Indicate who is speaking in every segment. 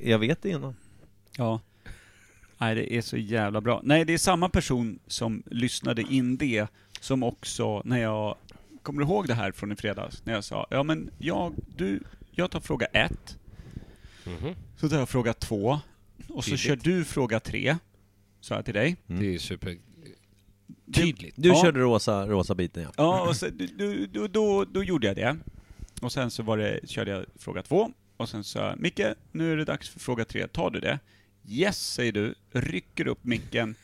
Speaker 1: Jag vet det innan.
Speaker 2: Ja. Nej, det är så jävla bra. Nej, det är samma person som lyssnade in det, som också, när jag, kommer du ihåg det här från i fredags? När jag sa, ja men jag, du, jag tar fråga ett, så tar jag fråga två, och så
Speaker 3: Tydligt.
Speaker 2: kör du fråga tre, sa jag till dig.
Speaker 3: Det är ju super...
Speaker 2: Du-
Speaker 3: Tydligt.
Speaker 1: Du
Speaker 2: Ja.
Speaker 1: körde rosa, rosa biten ja.
Speaker 2: Ja, och så, du, du, då, då, då gjorde jag det. Och sen så var det, körde jag fråga två. Och sen sa jag, Micke, nu är det dags för fråga tre. Tar du det? Yes, säger du, rycker upp micken,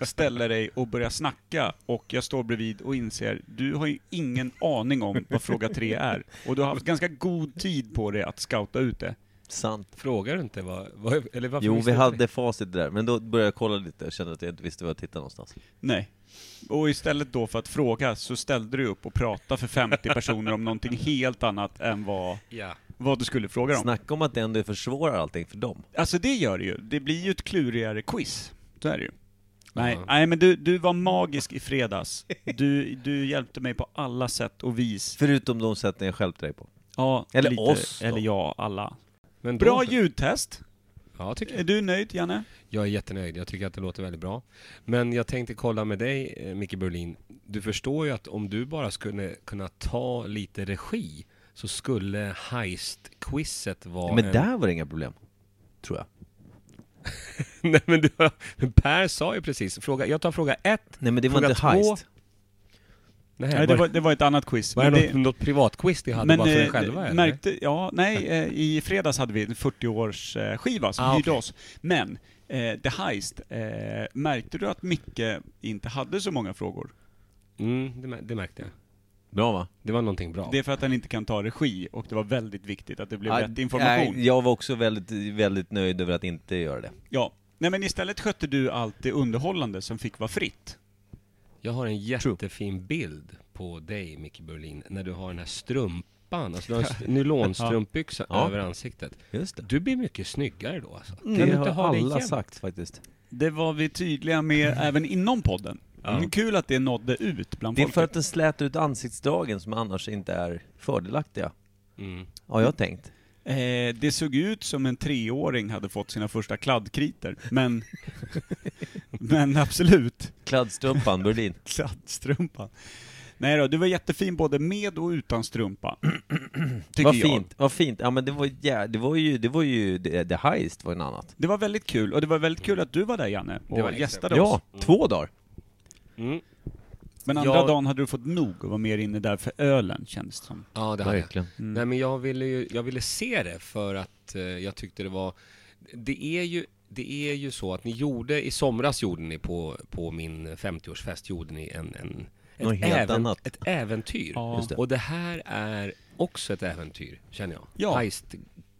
Speaker 2: ställer dig och börjar snacka. Och jag står bredvid och inser, du har ju ingen aning om vad fråga tre är. Och du har haft ganska god tid på dig att scouta ut det.
Speaker 1: Sant.
Speaker 3: Frågar du inte vad... vad eller varför
Speaker 1: Jo,
Speaker 3: visste
Speaker 1: vi
Speaker 3: du
Speaker 1: hade
Speaker 3: det?
Speaker 1: facit där, men då började jag kolla lite och kände att jag inte visste var jag tittade någonstans.
Speaker 2: Nej. Och istället då för att fråga så ställde du upp och pratade för 50 personer om någonting helt annat än vad,
Speaker 3: Ja.
Speaker 2: vad du skulle fråga om.
Speaker 1: Snacka om att det ändå försvårar allting för dem.
Speaker 2: Alltså det gör det ju. Det blir ju ett klurigare quiz. Så är det ju. Nej,
Speaker 3: Ja.
Speaker 2: nej men du, du var magisk i fredags. Du, du hjälpte mig på alla sätt och vis.
Speaker 1: Förutom de sätten jag stjälpte dig på.
Speaker 2: Ja,
Speaker 1: Eller oss då.
Speaker 2: Eller jag, alla.
Speaker 3: Men då,
Speaker 2: Bra ljudtest.
Speaker 3: Ja, tycker
Speaker 2: Är
Speaker 3: jag.
Speaker 2: du nöjd, Janne?
Speaker 3: Jag är jättenöjd. Jag tycker att det låter väldigt bra. Men jag tänkte kolla med dig, eh, Micke Berlin. Du förstår ju att om du bara skulle kunna ta lite regi så skulle heist-quizet vara
Speaker 1: Men
Speaker 3: en-
Speaker 1: där var det inga problem. Tror jag.
Speaker 3: Nej men du, har- men Per sa ju precis, fråga, jag tar fråga ett.
Speaker 1: Nej men det var
Speaker 3: Fråga
Speaker 1: inte
Speaker 3: två.
Speaker 1: heist.
Speaker 3: Nej,
Speaker 2: Nej, det
Speaker 3: var,
Speaker 2: var, det var ett annat quiz.
Speaker 3: var det,
Speaker 2: men eh,
Speaker 3: något, något privatquiz ni hade bara för er själva eller?
Speaker 2: märkte, ja, nej, eh, i fredags hade vi en 40-års eh, skiva som
Speaker 3: Ah,
Speaker 2: hyrde
Speaker 3: okej.
Speaker 2: oss. Men, eh, The Heist, eh, märkte du att Micke inte hade så många frågor?
Speaker 3: Mm, det, mär- det märkte jag.
Speaker 1: Bra va?
Speaker 3: Det var någonting bra.
Speaker 2: Det är för att han inte kan ta regi och det var väldigt viktigt att det blev
Speaker 1: Ja,
Speaker 2: rätt information.
Speaker 1: nej, jag var också väldigt, väldigt nöjd över att inte göra det.
Speaker 2: Ja. Nej men istället skötte du allt det underhållande som fick vara fritt.
Speaker 3: Jag har en jättefin bild på dig Micke Berlin, när du har den här strumpan, alltså du har en st- nylonstrumpbyxa
Speaker 1: Ja.
Speaker 3: över ansiktet.
Speaker 1: Just det.
Speaker 3: Du blir mycket snyggare då alltså. Kan
Speaker 1: det
Speaker 3: du
Speaker 1: har
Speaker 3: inte ha det
Speaker 1: alla
Speaker 3: jämt?
Speaker 1: sagt faktiskt.
Speaker 2: Det var vi tydliga med även inom podden. Men kul att Mm. det nådde ut bland
Speaker 1: Det är
Speaker 2: folket.
Speaker 1: för att den slätar ut ansiktsdragen som annars inte är fördelaktiga.
Speaker 3: Mm.
Speaker 1: Har jag tänkt.
Speaker 2: eh, det såg ut som en treåring hade fått sina första kladdkriter. Men, men absolut,
Speaker 1: Kladdstrumpan, Berlin.
Speaker 2: kladdstrumpan. Nej då, du var jättefin både med och utan strumpa. Tycker
Speaker 1: Vad
Speaker 2: jag.
Speaker 1: fint, vad fint. Ja men det var, ja, det var ju, det var ju, det, det heist var en annat.
Speaker 2: Det var väldigt kul, och det var väldigt kul att du var där Janne, och
Speaker 3: var extra
Speaker 2: gästade oss.
Speaker 1: Ja, två dagar.
Speaker 3: Mm.
Speaker 2: Men andra
Speaker 3: Jag-
Speaker 2: dagen hade du fått nog och var mer inne där för ölen kändes det som.
Speaker 3: Ja, det hade jag.
Speaker 1: Verkligen.
Speaker 2: Mm.
Speaker 3: Nej men jag ville ju, jag ville se det för att eh, jag tyckte det var, det är ju, det är ju så att ni gjorde, i somras gjorde ni på, på min 50-årsfest, gjorde ni en, en
Speaker 1: Något helt annat.
Speaker 3: ett äventyr.
Speaker 2: Ja. Just
Speaker 1: det.
Speaker 3: Och det här är också ett äventyr, känner jag.
Speaker 2: Ja.
Speaker 3: Heist,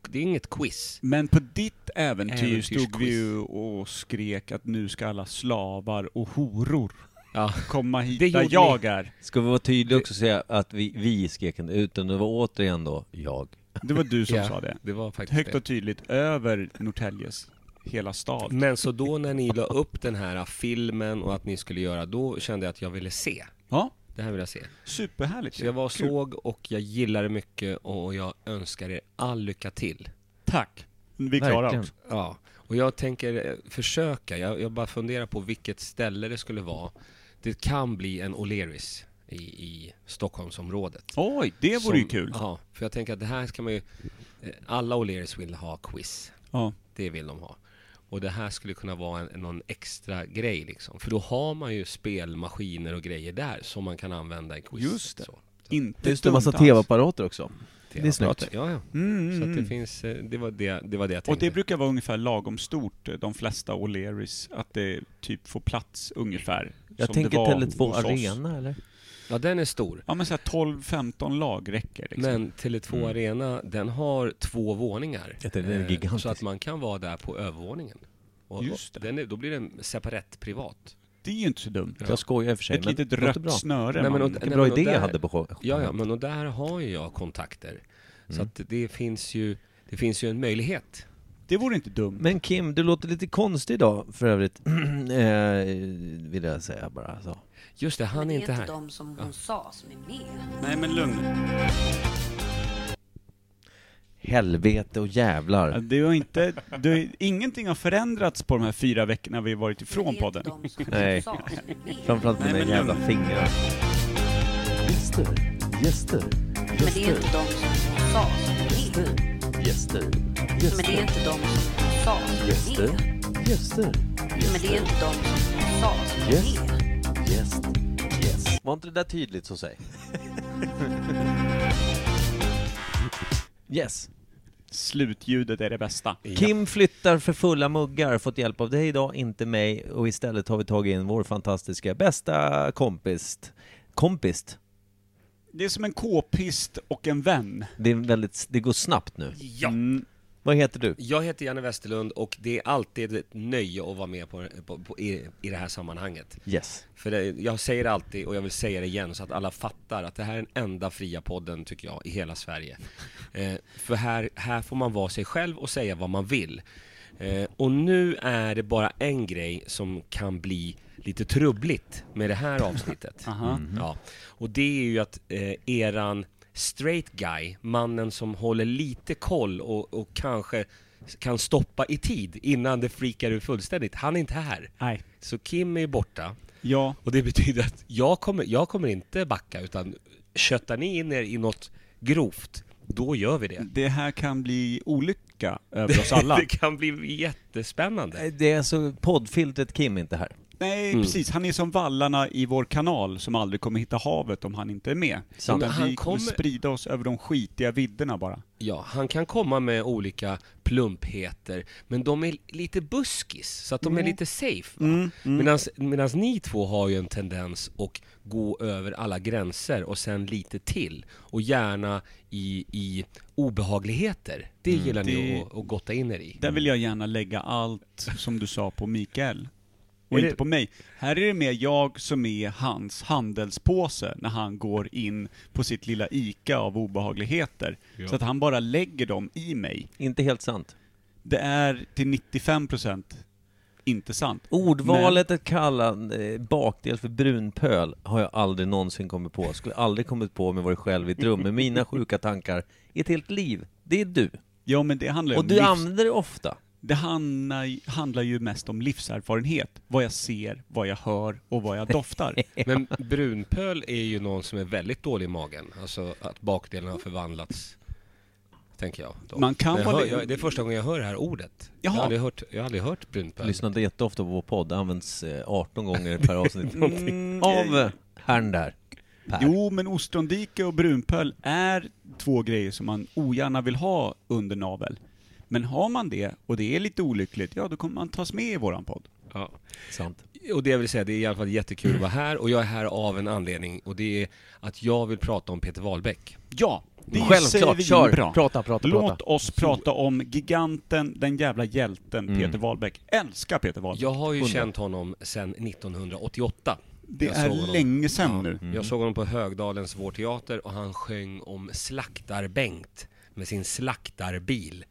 Speaker 3: det är inget quiz.
Speaker 2: Men på ditt äventyr
Speaker 3: Äventyrsquiz.
Speaker 2: stod vi ju och skrek att nu ska alla slavar och horor
Speaker 3: Ja.
Speaker 2: komma hit
Speaker 3: Det
Speaker 2: där
Speaker 3: gjorde
Speaker 2: jag är.
Speaker 1: Ska vi vara tydliga också och säga att vi, vi skrek inte ut, utan det var återigen då jag.
Speaker 2: Det var du som sa det.
Speaker 3: Det var faktiskt
Speaker 2: Högt
Speaker 3: det.
Speaker 2: och tydligt över Norrtäljes hela stad.
Speaker 3: Men så då när ni la upp den här filmen och att ni skulle göra, då kände jag att jag ville se.
Speaker 2: Ja,
Speaker 3: Det här vill jag se.
Speaker 2: superhärligt
Speaker 3: Så
Speaker 2: ju.
Speaker 3: jag var och
Speaker 2: Kul.
Speaker 3: såg och jag gillade mycket och jag önskar er all lycka till.
Speaker 2: Tack. Vi klarar
Speaker 1: Verkligen.
Speaker 2: också.
Speaker 3: Ja, och jag tänker eh, försöka. Jag, jag bara funderar på vilket ställe det skulle vara. Det kan bli en O'Learys i, i Stockholmsområdet.
Speaker 2: Oj, det vore ju
Speaker 3: Som-
Speaker 2: kul.
Speaker 3: Ja, för jag tänker att det här ska man ju... eh, Alla O'Learys vill ha quiz.
Speaker 2: Ja.
Speaker 3: Det vill de ha. Och det här skulle kunna vara en, någon extra grej liksom. För då har man ju spelmaskiner och grejer där som man kan använda i quiz.
Speaker 2: Just det.
Speaker 3: Så.
Speaker 2: Inte
Speaker 1: Just en massa
Speaker 2: dumt alls.
Speaker 1: tv-apparater också. Det är snyggt.
Speaker 3: Ja, ja.
Speaker 2: Mm, mm,
Speaker 3: Så att det
Speaker 2: mm.
Speaker 3: finns, eh, det var det, det var det jag
Speaker 2: Och
Speaker 3: tänkte.
Speaker 2: det brukar vara ungefär lagom stort, eh, de flesta O'Learys, att det typ får plats ungefär.
Speaker 1: Jag
Speaker 2: som det
Speaker 1: tänker
Speaker 2: var
Speaker 1: Tele2
Speaker 2: hos oss.
Speaker 1: Arena eller?
Speaker 3: Ja, den är stor.
Speaker 2: Ja men såhär 12-15 lag räcker liksom.
Speaker 3: Men Tele2 Arena, den har två våningar.
Speaker 1: Jag tänkte, Mm. den är
Speaker 3: Eh,
Speaker 1: gigantisk.
Speaker 3: Så att man kan vara där på övervåningen. Och,
Speaker 2: Just det.
Speaker 3: Och den är, då blir den separat privat.
Speaker 2: Det är ju inte så dumt.
Speaker 1: Jag skojar i och för sig,
Speaker 2: Ett
Speaker 1: men
Speaker 2: litet
Speaker 1: det låter
Speaker 2: rött
Speaker 1: bra.
Speaker 2: snöre
Speaker 3: Nej, men
Speaker 2: man.
Speaker 3: och-
Speaker 1: Vilken bra
Speaker 3: men
Speaker 1: idé jag
Speaker 3: där-
Speaker 1: hade på show.
Speaker 3: Ja, ja, men och där har ju jag kontakter.
Speaker 1: Mm.
Speaker 3: Så att det finns ju, det finns ju en möjlighet.
Speaker 2: Det vore inte dumt.
Speaker 1: Men Kim, du låter lite konstig idag för övrigt, eh, vill jag säga bara så.
Speaker 3: Just det, han
Speaker 4: Men
Speaker 3: är
Speaker 4: det
Speaker 3: inte
Speaker 4: är
Speaker 3: här.
Speaker 4: inte de som hon sa som är med.
Speaker 2: Nej men lugn.
Speaker 1: helvete och
Speaker 2: Ja,
Speaker 1: jävlar.
Speaker 2: Det var inte, det, ingenting har förändrats på de här fyra veckorna vi varit ifrån podden.
Speaker 4: De som
Speaker 1: Nej.
Speaker 4: sa som vet.
Speaker 1: Framförallt mina
Speaker 2: Nej, men
Speaker 1: jävla
Speaker 2: lugn.
Speaker 1: fingrar. Gäster, gäster,
Speaker 4: Men det är inte de som sa som vet.
Speaker 1: gäster,
Speaker 4: Men det är inte de som sa som vet.
Speaker 1: gäster,
Speaker 4: Men det är inte de som sa som
Speaker 1: Yes.
Speaker 4: vet.
Speaker 1: gäst, gäst. Var inte det där tydligt så säg? Yes.
Speaker 2: Slutljudet är det bästa.
Speaker 1: Kim flyttar för fulla muggar, fått hjälp av dig idag, inte mig, och istället har vi tagit in vår fantastiska bästa kompis. Kompis?
Speaker 2: Det är som en k-pist och en vän.
Speaker 1: Det, är väldigt, det går snabbt nu.
Speaker 3: Ja.
Speaker 2: Mm,
Speaker 1: Vad heter du?
Speaker 3: Jag heter Janne Westerlund och det är alltid ett nöje att vara med på, på, på, i, i det här sammanhanget.
Speaker 1: Yes.
Speaker 3: För det, jag säger det alltid, och jag vill säga det igen, så att alla fattar att det här är den enda fria podden, tycker jag, i hela Sverige. Eh, för här, här får man vara sig själv och säga vad man vill. Eh, och nu är det bara en grej som kan bli lite trubbligt med det här avsnittet.
Speaker 2: aha.
Speaker 3: Ja. Och det är ju att eh, eran straight guy, mannen som håller lite koll och, och kanske kan stoppa i tid innan det freakar ut fullständigt, han är inte här.
Speaker 2: Nej.
Speaker 3: Så Kim är borta.
Speaker 2: Ja.
Speaker 3: Och det betyder att jag kommer, jag kommer inte backa utan köttar ni in er i något grovt, då gör vi det.
Speaker 2: Det här kan bli olycka över oss alla.
Speaker 3: Det kan bli jättespännande.
Speaker 1: Det är alltså poddfiltret Kim inte här.
Speaker 2: Nej,
Speaker 3: Mm.
Speaker 2: precis. Han är som vallarna i vår kanal som aldrig kommer hitta havet om han inte är med.
Speaker 1: Sant.
Speaker 2: Utan
Speaker 3: Han
Speaker 2: vi kommer
Speaker 3: kommer-
Speaker 2: sprida oss över de skitiga vidderna bara.
Speaker 3: Ja, han kan komma med olika plumpheter, men de är lite buskis, så att de är lite safe. va? Medans, medans ni två har ju en tendens att gå över alla gränser och sen lite till. Och gärna i, i obehagligheter. Det gillar ni
Speaker 2: Det-
Speaker 3: att, att gotta in er i.
Speaker 2: Där vill jag gärna lägga allt som du sa på Mikael. Och
Speaker 3: Är
Speaker 2: inte
Speaker 3: det-
Speaker 2: på mig. Här är det mer jag som är hans handelspåse när han går in på sitt lilla ICA av obehagligheter.
Speaker 3: Ja.
Speaker 2: Så att han bara lägger dem i mig.
Speaker 1: Inte helt sant.
Speaker 2: Det är till 95% inte sant.
Speaker 1: Ordvalet att kalla eh, bakdel för brunpöl har jag aldrig någonsin kommit på. Skulle aldrig kommit på om jag varit själv i ett rum med mina sjuka tankar i ett helt liv. Det är du.
Speaker 2: Ja men det handlar ju
Speaker 1: Och
Speaker 2: om
Speaker 1: du
Speaker 2: livs...
Speaker 1: använder det ofta.
Speaker 2: Det handlar, handlar ju mest om livserfarenhet. Vad jag ser, vad jag hör och vad jag doftar.
Speaker 3: Men brunpöl är ju någon som är väldigt dålig i magen. Alltså att bakdelen har förvandlats. Tänker jag. Då.
Speaker 2: Man kan
Speaker 3: Men jag
Speaker 2: vara-
Speaker 3: hör, jag, det är första gången jag hör det här ordet. Jag
Speaker 2: Jaha.
Speaker 3: har aldrig hört, jag har aldrig hört brunpöl.
Speaker 1: Lyssnar inte jätteofta på vår podd. Det används eh, 18 gånger per avsnitt.
Speaker 2: Mm,
Speaker 1: Av eh, herrn där. Per.
Speaker 2: Jo, men ostrondike och brunpöl är två grejer som man ogärna vill ha under navel. Men har man det, och det är lite olyckligt, ja då kommer man tas med i våran podd.
Speaker 3: Ja.
Speaker 1: Sant.
Speaker 3: Och det jag vill säga, det är i alla fall jättekul att vara här och jag är här av en anledning och det är att jag vill prata om Peter Wahlbeck.
Speaker 2: Ja, det säger
Speaker 1: Självklart.
Speaker 2: vi
Speaker 1: Kör. Prata,
Speaker 2: bra.
Speaker 1: prata, prata.
Speaker 2: Låt oss prata om giganten, den jävla hjälten
Speaker 1: Mm.
Speaker 2: Peter Wahlbeck. Älskar Peter Wahlbeck.
Speaker 3: Jag har ju
Speaker 1: Hundra.
Speaker 3: känt honom sedan 1988.
Speaker 2: det
Speaker 3: jag
Speaker 2: är
Speaker 3: såg honom.
Speaker 2: länge sedan nu.
Speaker 3: Jag såg honom på Högdalens Vår Teater och han sjöng om Slaktar-Bengt med sin slaktarbil,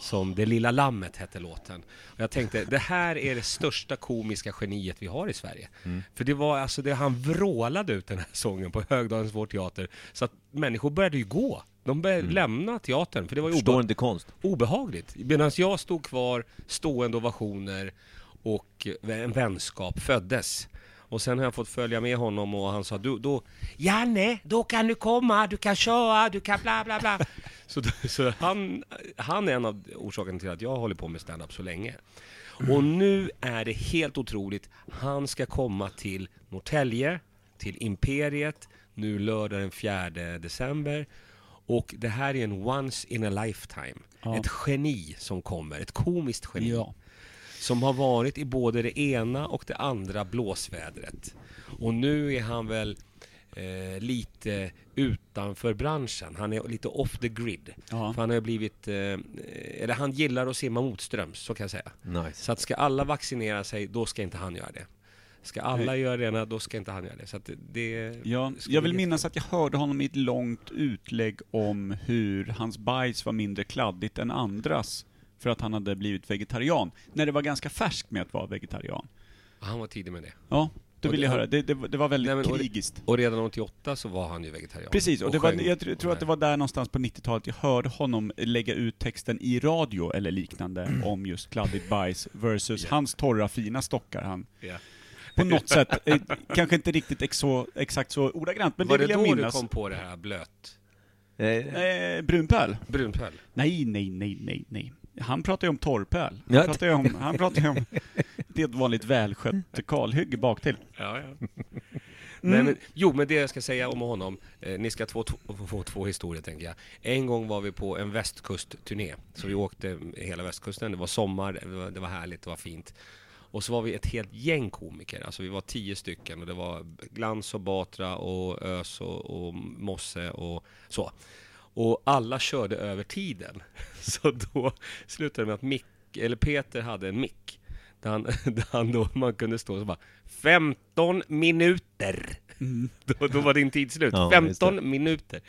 Speaker 3: som Det lilla lammet hette låten. Och jag tänkte, det här är det största komiska geniet vi har i Sverige. För det var alltså det han vrålade ut den här sången på Högdalens Vår Teater, så att människor började ju gå. De började lämna teatern, för det var ju
Speaker 1: Förstår
Speaker 3: obe-
Speaker 1: inte konst.
Speaker 3: obehagligt. Medan jag stod kvar, stående ovationer och en vänskap föddes. Och sen har jag fått följa med honom och han sa du, då, Janne, då kan du komma, du kan köra, du kan bla bla bla. så så han, han är en av orsakerna till att jag håller på med stand-up så länge. Och nu är det helt otroligt. Han ska komma till Norrtälje, till Imperiet, nu lördag den 4 december. Och det här är en once in a lifetime. Ett geni som kommer, ett komiskt geni.
Speaker 2: Ja.
Speaker 3: Som har varit i både det ena och det andra blåsvädret. Och nu är han väl eh, lite utanför branschen. Han är lite off the grid.
Speaker 2: Ja.
Speaker 3: För han har ju blivit, eh, eller han gillar att simma motströms, så kan jag säga.
Speaker 1: Nice.
Speaker 3: Så att ska alla vaccinera sig, då ska inte han göra det. Ska alla göra det ena, då ska inte han göra det. Så att det- det...
Speaker 2: Ja,
Speaker 3: ska
Speaker 2: jag
Speaker 3: bli
Speaker 2: vill minnas att jag hörde honom i ett långt utlägg om hur hans bajs var mindre kladdigt än andras för att han hade blivit vegetarian, när det var ganska färskt med att vara vegetarian.
Speaker 3: Han var tidig med det.
Speaker 2: Ja, Då vill jag höra. Det, det, var- det var väldigt
Speaker 3: Nej, men- och-
Speaker 2: krigiskt.
Speaker 3: Och redan 88 så var han ju vegetarian.
Speaker 2: Precis, och,
Speaker 3: Och
Speaker 2: det var,
Speaker 3: sjöng
Speaker 2: jag tr- tror att det var där någonstans på 90-talet jag hörde honom lägga ut texten i radio eller
Speaker 3: Mm.
Speaker 2: liknande om just kladdigt bajs versus hans torra fina stockar han
Speaker 3: Ja.
Speaker 2: på något sätt, eh, kanske inte riktigt exo, exakt så ordagrant, men
Speaker 3: var
Speaker 2: det
Speaker 3: det
Speaker 2: vill
Speaker 3: då
Speaker 2: jag
Speaker 3: du
Speaker 2: minnas.
Speaker 3: kom på det här blöt?
Speaker 1: Eh,
Speaker 2: Eh, brunpöl?
Speaker 3: Brunpöl?
Speaker 2: Nej, nej, nej, nej, nej. Han pratar ju om torrpöl.
Speaker 1: Ja.
Speaker 2: Han pratar ju om, han pratar ju om det är ett vanligt välskött kalhygge baktill.
Speaker 3: Ja, ja. Nej, men, jo, men det jag ska säga om honom, eh, ni ska få två, få två historier tänker jag. En gång var vi på en västkustturné, så vi åkte hela västkusten, det var sommar, det var, det var härligt, det var fint. Och så var vi ett helt gäng komiker, alltså vi var tio stycken och det var Glans och Batra och Ös och, och Mosse och så. Och alla körde över tiden. Så då slutade det med att Mick, eller Peter hade en mick. Där han, där han då, man kunde stå så bara 15 minuter! Då, då var din tid slut.
Speaker 1: Mm. Ja, just det.
Speaker 3: 15 minuter!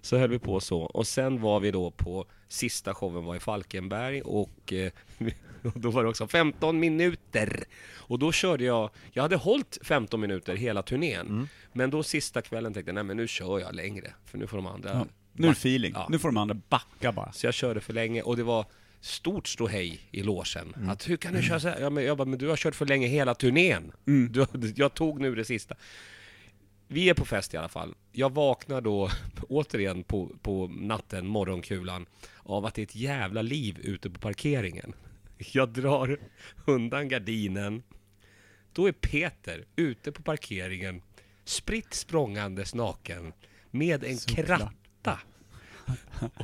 Speaker 3: Så höll vi på så. Och sen var vi då på, sista showen var i Falkenberg och, eh, och då var det också 15 minuter! Och då körde jag, jag hade hållit 15 minuter hela turnén.
Speaker 1: Mm.
Speaker 3: Men då sista kvällen tänkte jag, nej men nu kör jag längre. För nu får de andra
Speaker 2: Nu är det feeling.
Speaker 3: Ja.
Speaker 2: Nu får de andra backa bara.
Speaker 3: så jag körde för länge och det var stort ståhej i logen. Att hur kan du köra så här? Ja, men jag bara, men du har kört för länge hela turnén. Du, har- jag tog nu det sista. Vi är på fest i alla fall. Jag vaknar då återigen på, på natten, morgonkulan, av att det är ett jävla liv ute på parkeringen. Jag drar undan gardinen. Då är Peter ute på parkeringen, spritt språngandes naken, med en kratta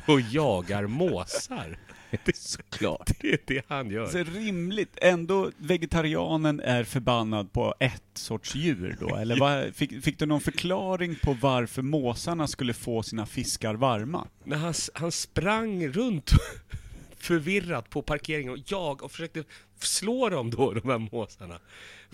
Speaker 3: och jagar måsar. Det är såklart. Det är det han
Speaker 2: Så
Speaker 3: gör.
Speaker 2: rimligt, ändå vegetarianen är förbannad på ett sorts djur då, eller vad, fick, fick du någon förklaring på varför måsarna skulle få sina fiskar varma?
Speaker 3: När han, s- han sprang runt förvirrat på parkeringen och jag och försökte slå dem då, de här måsarna.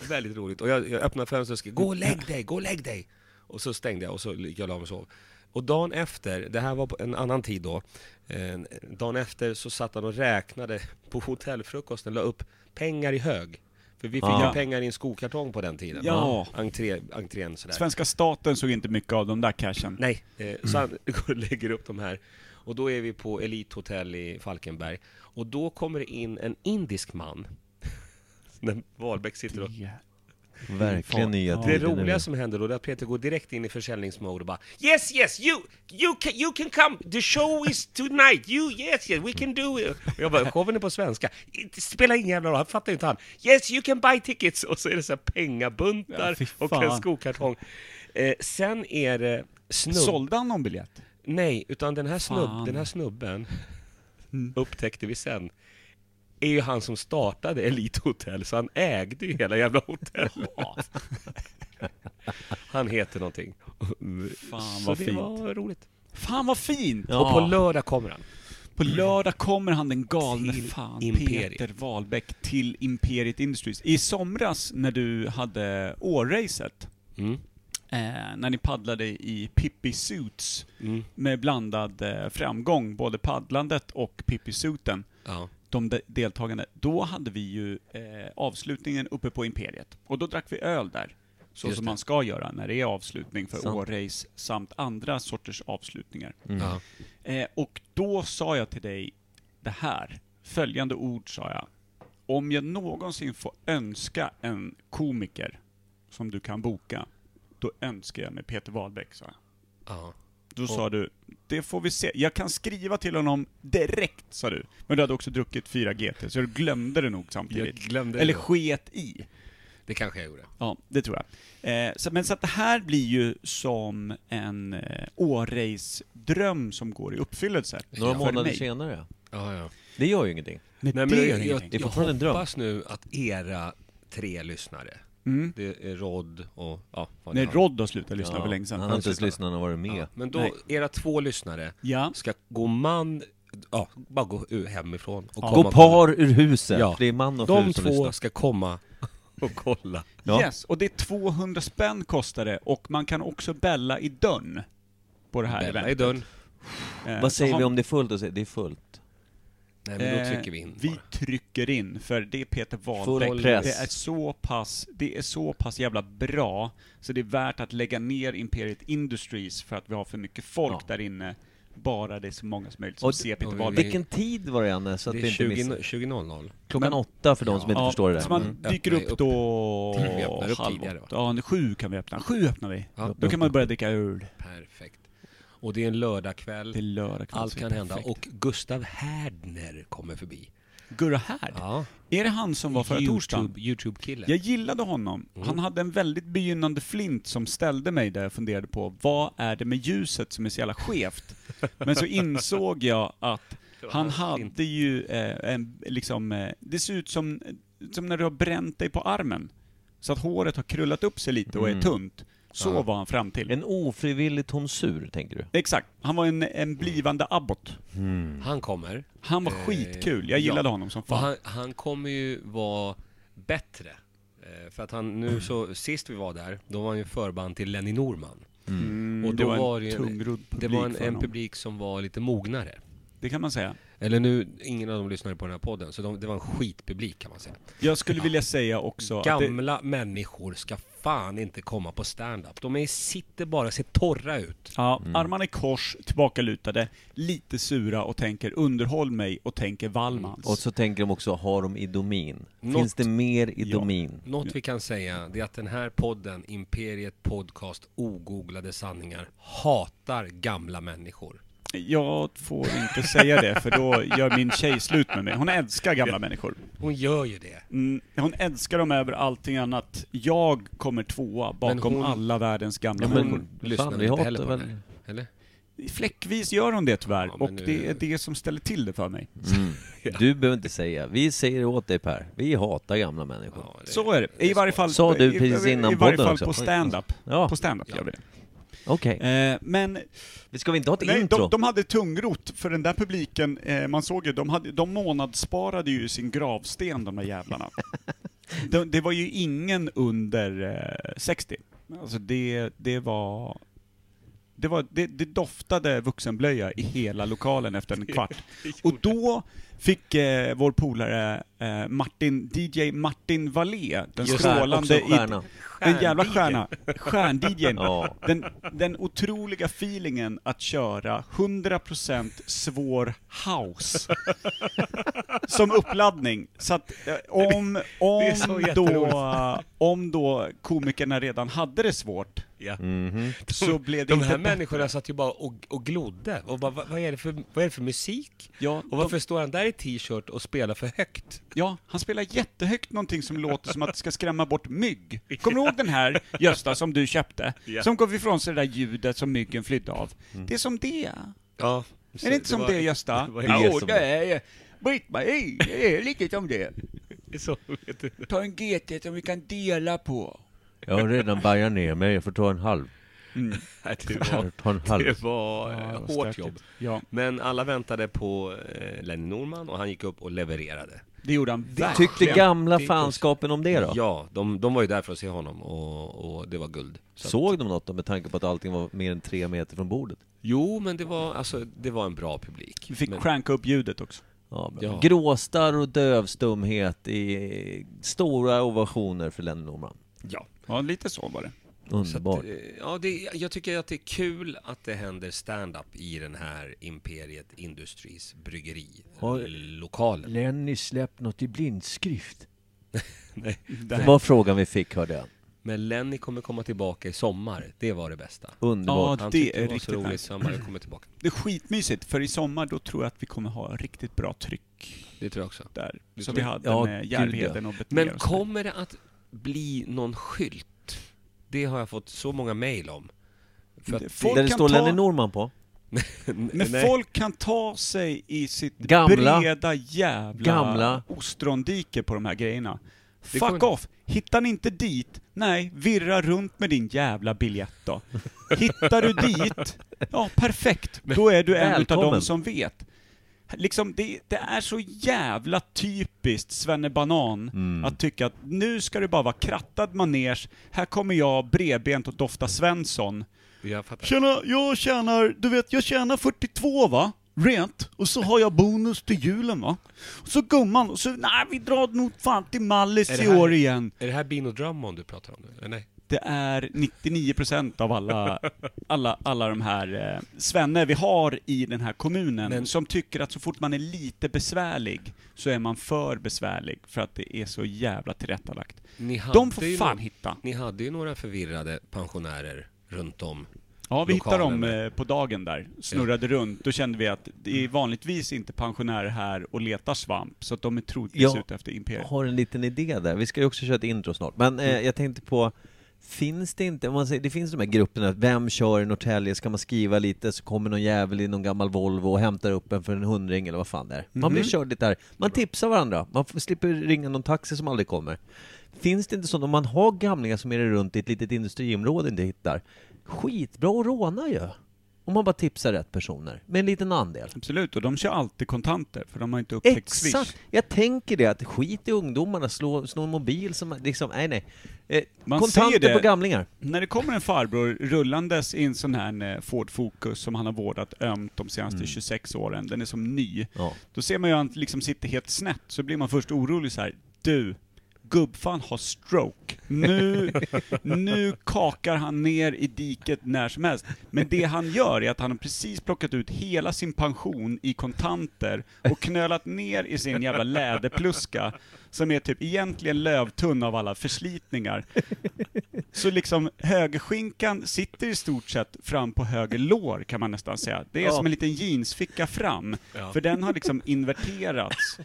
Speaker 3: Väldigt roligt. Och jag, jag öppnade fönstret och skrek ”Gå och lägg dig, gå och lägg dig!” Och så stängde jag och så gick jag och la mig och sov. Och dagen efter, det här var på en annan tid då, eh, dagen efter så satt han och räknade på hotellfrukosten, la upp pengar i hög. För vi fick
Speaker 1: Ah.
Speaker 3: ju pengar i en skokartong på den tiden.
Speaker 2: Ja.
Speaker 3: Entré, entrén sådär.
Speaker 2: Svenska staten såg inte mycket av de där cashen.
Speaker 3: Nej, eh, så han går och lägger upp de här. Och då är vi på Elite Hotel i Falkenberg. Och då kommer det in en indisk man. När Wahlbeck sitter och...
Speaker 1: verkligen nya
Speaker 2: Ja.
Speaker 3: Det
Speaker 1: tider nu.
Speaker 3: roliga som händer då, det är att Peter går direkt in i försäljningsmode och bara Yes, yes, you, you, can, you can come, the show is tonight, you, yes, yes, we can do it. Och jag bara, showen är på svenska. Det spelar ingen jävla roll, han fattar ju inte han. Yes, you can buy tickets. Och så är det så här
Speaker 2: Ja,
Speaker 3: pengabuntar
Speaker 2: fy
Speaker 3: och en
Speaker 2: fan.
Speaker 3: skokartong. Eh, sen är det snubbar.
Speaker 2: Sålde han någon biljett?
Speaker 3: Nej, utan den här, snubb,
Speaker 2: Fan. Mm.
Speaker 3: den här snubben upptäckte vi sen är ju han som startade Elite Hotel, så han ägde ju hela jävla hotellet. han heter någonting.
Speaker 2: Fan
Speaker 3: så
Speaker 2: vad
Speaker 3: det
Speaker 2: fint.
Speaker 3: var roligt.
Speaker 2: Fan vad fint!
Speaker 1: Ja.
Speaker 3: Och på lördag kommer han.
Speaker 2: På lördag kommer han den galne
Speaker 3: Till
Speaker 2: fan
Speaker 3: Imperiet.
Speaker 2: Peter Wahlbeck till Imperiet Industries. I somras när du hade årracet,
Speaker 3: Mm.
Speaker 2: eh, när ni paddlade i Pippi Suits
Speaker 3: Mm.
Speaker 2: med blandad eh, framgång, både paddlandet och Pippi Suiten,
Speaker 3: Ja.
Speaker 2: de de- deltagande, då hade vi ju eh, avslutningen uppe på Imperiet. Och då drack vi öl där. Så
Speaker 3: Just
Speaker 2: som
Speaker 3: det.
Speaker 2: man ska göra när det är avslutning för
Speaker 1: Sant.
Speaker 2: årrace samt andra sorters avslutningar.
Speaker 3: Ja.
Speaker 2: Eh, och då sa jag till dig det här. Följande ord sa jag. Om jag någonsin får önska en komiker som du kan boka, då önskar jag mig Peter Wahlbeck, sa jag.
Speaker 3: Ja.
Speaker 2: Då sa du, det får vi se. Jag kan skriva till honom direkt, sa du. Men du hade också druckit 4 GT, så du glömde det nog
Speaker 3: Jag
Speaker 2: samtidigt.
Speaker 3: glömde det.
Speaker 2: Eller
Speaker 3: då.
Speaker 2: sket i.
Speaker 3: det kanske jag gjorde.
Speaker 2: Ja, det tror jag. Eh, så, men så att det här blir ju som en eh, Årejs-dröm som går i uppfyllelse.
Speaker 1: Några
Speaker 2: För
Speaker 1: månader
Speaker 2: mig.
Speaker 1: senare.
Speaker 3: Ja, ja.
Speaker 1: Det gör ju ingenting.
Speaker 2: Nej,
Speaker 3: Nej,
Speaker 2: det
Speaker 3: men
Speaker 2: gör
Speaker 3: jag,
Speaker 2: ingenting.
Speaker 3: jag,
Speaker 1: Det är
Speaker 3: jag
Speaker 1: fortfarande en dröm.
Speaker 3: hoppas nu att era tre lyssnare,
Speaker 2: Mm.
Speaker 3: det är Rod och... Ja, vad
Speaker 2: Nej,
Speaker 3: det
Speaker 2: Rod har slutat lyssna
Speaker 1: Ja,
Speaker 2: för länge sedan.
Speaker 1: Han har inte ens
Speaker 3: slutat.
Speaker 1: lyssnat, han har varit med.
Speaker 3: Ja, men då,
Speaker 2: Nej.
Speaker 3: era två lyssnare
Speaker 2: Ja.
Speaker 3: ska gå man, ja, bara gå ur hemifrån och
Speaker 2: Ja.
Speaker 1: Gå
Speaker 3: komma
Speaker 1: par ur huset!
Speaker 3: Ja.
Speaker 1: Det är man och fru
Speaker 3: De
Speaker 1: som
Speaker 3: två
Speaker 1: lyssnar.
Speaker 3: ska komma och kolla.
Speaker 1: Ja.
Speaker 2: Yes, och det är 200 spänn kostar det och man kan också bälla i dörren. På det här
Speaker 3: Bella i
Speaker 2: eventet.
Speaker 3: dörren.
Speaker 2: Eh,
Speaker 1: Vad
Speaker 2: så
Speaker 1: säger
Speaker 2: har-
Speaker 1: vi om det är fullt? Och säger, det är fullt.
Speaker 3: Nej, men då
Speaker 2: Eh,
Speaker 3: trycker vi in
Speaker 2: Vi
Speaker 3: bara.
Speaker 2: trycker in, för det är Peter
Speaker 1: Full
Speaker 2: Wahlbeck.
Speaker 1: press.
Speaker 2: Det är, så pass, det är så pass jävla bra, så det är värt att lägga ner Imperiet Industries för att vi har för mycket folk
Speaker 1: Ja.
Speaker 2: där inne. Bara det är så många som möjligt som
Speaker 1: Och-
Speaker 2: ser Peter
Speaker 3: och vi-
Speaker 2: Wahlbeck.
Speaker 1: Vilken tid var det Janne? Så att
Speaker 3: Det
Speaker 1: vi
Speaker 3: är
Speaker 1: inte
Speaker 3: 20
Speaker 1: missar.
Speaker 3: 20.00.
Speaker 1: Klockan
Speaker 2: Men-
Speaker 1: åtta för de som inte förstår det
Speaker 2: Så
Speaker 1: där.
Speaker 2: man
Speaker 1: Mm.
Speaker 2: dyker
Speaker 3: Öppnar
Speaker 2: upp då...
Speaker 3: Vi öppnar upp
Speaker 2: halv
Speaker 3: tidigare, va?
Speaker 2: åtta. Ja, nu sju kan vi öppna. Sju öppnar vi.
Speaker 3: Ja.
Speaker 2: Då kan man börja dricka öl.
Speaker 3: Perfekt. Och det är en lördagkväll.
Speaker 2: Det är lördag kväll,
Speaker 3: Allt
Speaker 2: så det
Speaker 3: kan
Speaker 2: är
Speaker 3: hända.
Speaker 2: perfekt.
Speaker 3: Och Gustav Härdner kommer förbi.
Speaker 2: Gurra Härd.
Speaker 3: Ja.
Speaker 2: Är det han som var förra torsdagen?
Speaker 3: Youtube- Youtube-kille.
Speaker 2: Jag gillade honom.
Speaker 3: Mm.
Speaker 2: Han hade en väldigt begynnande flint som ställde mig där jag funderade på vad är det med ljuset som är så jävla skevt? Men så insåg jag att han hade ju eh, en, liksom, eh, det ser ut som, som när du har bränt dig på armen. Så att håret har krullat upp sig lite och är
Speaker 1: Mm.
Speaker 2: tunt. Så
Speaker 3: Ja.
Speaker 2: var han fram till.
Speaker 1: En ofrivillig tonsur, tänker du?
Speaker 2: Exakt. Han var en, en blivande abbot.
Speaker 3: Han kommer.
Speaker 2: Han var
Speaker 3: Eh,
Speaker 2: skitkul. Jag gillade
Speaker 3: ja.
Speaker 2: honom som
Speaker 3: Och
Speaker 2: fan.
Speaker 3: han, han kommer ju vara bättre. Eh, För att han nu så, sist vi var där, då var han ju förband till Lenny Norman.
Speaker 2: Mm,
Speaker 3: och
Speaker 2: det
Speaker 3: då
Speaker 2: var en
Speaker 3: var det ju en-
Speaker 2: tungrodd
Speaker 3: Det
Speaker 2: publik
Speaker 3: var en,
Speaker 2: för
Speaker 3: en
Speaker 2: honom.
Speaker 3: publik som var lite mognare.
Speaker 2: Det kan man säga.
Speaker 3: Eller nu, ingen av dem lyssnade på den här podden, så de, det var en skitpublik kan man säga.
Speaker 2: Jag skulle vilja säga också att det,
Speaker 3: Gamla människor ska fan inte komma på stand-up. De är, sitter bara, ser torra ut.
Speaker 2: Ja,
Speaker 1: Mm.
Speaker 2: armarna i kors, tillbakalutade, lite sura och tänker underhåll mig och tänker Wallmans.
Speaker 1: Mm. Och så tänker de också, har de idomin? Finns
Speaker 3: Något-
Speaker 1: det mer
Speaker 2: Ja.
Speaker 1: idomin?
Speaker 3: Något vi kan säga, det är att den här podden, Imperiet Podcast Ogooglade Sanningar, hatar gamla människor.
Speaker 2: Jag får inte säga det för då gör min tjej slut med mig. Hon älskar gamla människor.
Speaker 3: Hon gör ju det.
Speaker 2: Mm, hon älskar dem över allting annat. Jag kommer tvåa bakom
Speaker 3: hon-
Speaker 2: alla världens gamla
Speaker 1: Ja,
Speaker 2: människor.
Speaker 1: fan, vi
Speaker 3: lyssnar väl inte
Speaker 1: hatar
Speaker 3: heller på
Speaker 1: väl-
Speaker 3: det? Eller?
Speaker 2: Fläckvis gör hon det tyvärr
Speaker 3: Ja, men
Speaker 2: och
Speaker 3: nu-
Speaker 2: det är det som ställer till det för mig.
Speaker 1: Mm. Du behöver inte säga. Vi säger åt dig Per, vi hatar gamla människor.
Speaker 3: Ja, det-
Speaker 2: Så är det. I varje fall,
Speaker 1: Sa du
Speaker 2: i-
Speaker 1: precis
Speaker 2: i,
Speaker 1: innan
Speaker 2: i varje
Speaker 1: podden
Speaker 2: fall
Speaker 1: också?
Speaker 2: på stand-up.
Speaker 1: Ja.
Speaker 2: På stand-up gör vi det.
Speaker 1: Okej.
Speaker 2: Eh, men
Speaker 1: Vi ska vi inte ha ett
Speaker 2: Nej,
Speaker 1: intro?
Speaker 2: de, de hade tungrot, för den där publiken, eh, man såg ju, de, hade, de månadssparade ju sin gravsten de där jävlarna. de, det var ju ingen under eh, 60. Alltså det, det var... Det, var det, det doftade vuxenblöja i hela lokalen efter en kvart. Och då fick eh, vår polare eh, Martin, DJ Martin Wallé, den
Speaker 1: Just det,
Speaker 2: strålande...
Speaker 1: också stjärna.
Speaker 2: Den jävla stjärna. Stjärn-DJn.
Speaker 1: Ja.
Speaker 2: Den, den otroliga feelingen att köra 100% svår house. Som uppladdning. Så att eh, om, om,
Speaker 3: så
Speaker 2: då, om då komikerna redan hade det svårt,
Speaker 3: Ja.
Speaker 1: Mm.
Speaker 2: så blev det
Speaker 3: De
Speaker 2: inte
Speaker 3: här
Speaker 2: bättre.
Speaker 3: människorna satt ju bara och, och glodde. Och bara, vad, vad, är det för, vad är det för musik?
Speaker 2: Ja,
Speaker 3: Och varför står han där i t-shirt och spelar för högt?
Speaker 2: Ja, han spelar jättehögt någonting som låter som att det ska skrämma bort mygg. Kommer du ihåg den här, Gösta, som du köpte? Som gav ifrån sig det där ljudet som myggen flydde av. Det är som det.
Speaker 3: Ja.
Speaker 2: är det inte som det, Gösta?
Speaker 3: det var-
Speaker 1: det som det.
Speaker 2: är Britt-Marie, det är lite som det.
Speaker 3: Så, vet du.
Speaker 2: Ta en GT som vi kan dela på.
Speaker 1: Jag har redan bajat ner mig, jag får ta en halv.
Speaker 3: Det var,
Speaker 1: Jag tar en halv.
Speaker 3: det var eh, hårt jobb.
Speaker 2: Ja,
Speaker 3: Men alla väntade på eh, Lenny Norman och han gick upp och levererade.
Speaker 2: det gjorde han verkligen.
Speaker 1: Tyckte gamla
Speaker 3: Det är
Speaker 1: fanskapen om det då?
Speaker 3: Ja, de, de var ju där för att se honom och, och det var guld. Så att-
Speaker 1: Såg de något då med tanke på att allting var mer än tre meter från bordet?
Speaker 3: Jo, men det var, alltså, det var en bra publik.
Speaker 2: Vi fick
Speaker 3: men,
Speaker 2: cranka upp ljudet också.
Speaker 1: Ja, bra.
Speaker 3: Ja.
Speaker 1: Gråstarr och dövstumhet i stora ovationer för Lennon Norman.
Speaker 3: ja.
Speaker 2: Ja, lite så var det.
Speaker 3: Så att,
Speaker 1: Underbart.
Speaker 3: eh, ja, det, jag tycker att det är kul att det händer stand-up i den här Imperiet Industries bryggeri
Speaker 1: Har-
Speaker 3: lokalen.
Speaker 1: Lenny släppt något i blindskrift?
Speaker 3: Nej.
Speaker 1: Det var frågan vi fick hörde jag.
Speaker 3: Men Lenny kommer komma tillbaka i sommar, det var det bästa.
Speaker 1: Underbart.
Speaker 2: Ja,
Speaker 3: Han
Speaker 2: det
Speaker 3: tyckte
Speaker 2: är
Speaker 3: det var
Speaker 2: riktigt
Speaker 3: så roligt
Speaker 2: nice.
Speaker 3: så han bara, jag kommer tillbaka.
Speaker 2: Det är skitmysigt, för i sommar då tror jag att vi kommer ha riktigt bra tryck
Speaker 3: Det tror jag också.
Speaker 2: där.
Speaker 3: Det
Speaker 2: Som
Speaker 3: tror
Speaker 2: vi
Speaker 3: jag.
Speaker 2: hade
Speaker 1: Ja,
Speaker 2: med
Speaker 1: gud, ja.
Speaker 2: Järvheden och Betnér
Speaker 3: Men
Speaker 2: och så där.
Speaker 3: kommer det att bli någon skylt? Det har jag fått så många mejl om. För att
Speaker 2: Det-
Speaker 3: det-
Speaker 2: folk
Speaker 1: Där det
Speaker 2: kan
Speaker 1: står
Speaker 2: ta-
Speaker 1: Lenny Norman på.
Speaker 2: Men
Speaker 3: Nej.
Speaker 2: folk kan ta sig i sitt
Speaker 1: Gamla.
Speaker 2: breda jävla
Speaker 1: Gamla.
Speaker 2: ostrondike på de här grejerna.
Speaker 3: Det
Speaker 2: Fuck
Speaker 3: kommer-
Speaker 2: off! Hittar ni inte dit? Nej, virra runt med din jävla biljett då. Hittar du dit? Ja, perfekt. Då är du en utav
Speaker 1: Välkommen.
Speaker 2: dem som vet. Liksom, det, det är så jävla typiskt svennebanan
Speaker 1: Mm.
Speaker 2: att tycka att nu ska det bara vara krattad manege, här kommer jag bredbent och dofta Svensson.
Speaker 3: Jag fattar.
Speaker 2: Tjena, jag tjänar, du vet, jag tjänar 42 va? rent och så har jag bonus till julen va. Och så gumman, och så nej vi drar nog fan till
Speaker 3: Är
Speaker 2: Mallis
Speaker 3: det
Speaker 2: i
Speaker 3: här-
Speaker 2: år igen.
Speaker 3: Är det här Bino Drummond du pratar om nu? Eller nej?
Speaker 2: Det är 99% av alla, alla, alla de här eh, svenne vi har i den här kommunen
Speaker 3: Men-
Speaker 2: som tycker att så fort man är lite besvärlig så är man för besvärlig för att det är så jävla tillrättalagt.
Speaker 3: Ni hade
Speaker 2: De
Speaker 3: ju
Speaker 2: får fan
Speaker 3: nå-
Speaker 2: hitta.
Speaker 3: Ni hade ju några förvirrade pensionärer runt om.
Speaker 2: Ja, vi hittade dem
Speaker 3: lokalen.
Speaker 2: eh, på dagen där, snurrade runt, då kände vi att det är
Speaker 1: Mm.
Speaker 2: vanligtvis inte pensionärer här och letar svamp, så att de är troligtvis
Speaker 1: Ja.
Speaker 2: ute efter imperiet.
Speaker 1: Jag har en liten idé där. Vi ska ju också köra ett intro snart. Men eh, jag tänkte på, finns det inte, om man säger, det finns de här grupperna, vem kör i Norrtälje? Ska man skriva lite så kommer någon jävel i någon gammal Volvo och hämtar upp en för en hundring eller vad fan det är. Man blir körd lite där. Man tipsar varandra. Man f- slipper ringa någon taxi som aldrig kommer. Finns det inte sånt, om man har gamlingar som är runt i ett litet industriområde inte hittar, skitbra att råna ju! Om man bara tipsar rätt personer, med en liten andel.
Speaker 2: Absolut, och de kör alltid kontanter, för de har inte upptäckt Swish.
Speaker 1: Exakt! Jag tänker det, att skit i ungdomarna, slå, slå en mobil som liksom, nej nej. Eh,
Speaker 2: Man
Speaker 1: kontanter
Speaker 2: ser det.
Speaker 1: på gamlingar.
Speaker 2: När det kommer en farbror rullandes i en sån här eh, Ford Focus som han har vårdat ömt de senaste
Speaker 1: Mm.
Speaker 2: 26 åren, den är som ny,
Speaker 1: Ja.
Speaker 2: då ser man ju att han liksom sitter helt snett, så blir man först orolig så här. du, gubbfan har stroke. Nu, nu kakar han ner i diket när som helst. Men det han gör är att han har precis plockat ut hela sin pension i kontanter och knölat ner i sin jävla läderpluska, som är typ egentligen lövtunn av alla förslitningar. Så liksom högerskinkan sitter i stort sett fram på höger lår kan man nästan säga. Det är
Speaker 1: Ja.
Speaker 2: som en liten jeansficka fram,
Speaker 3: Ja.
Speaker 2: för den har liksom inverterats.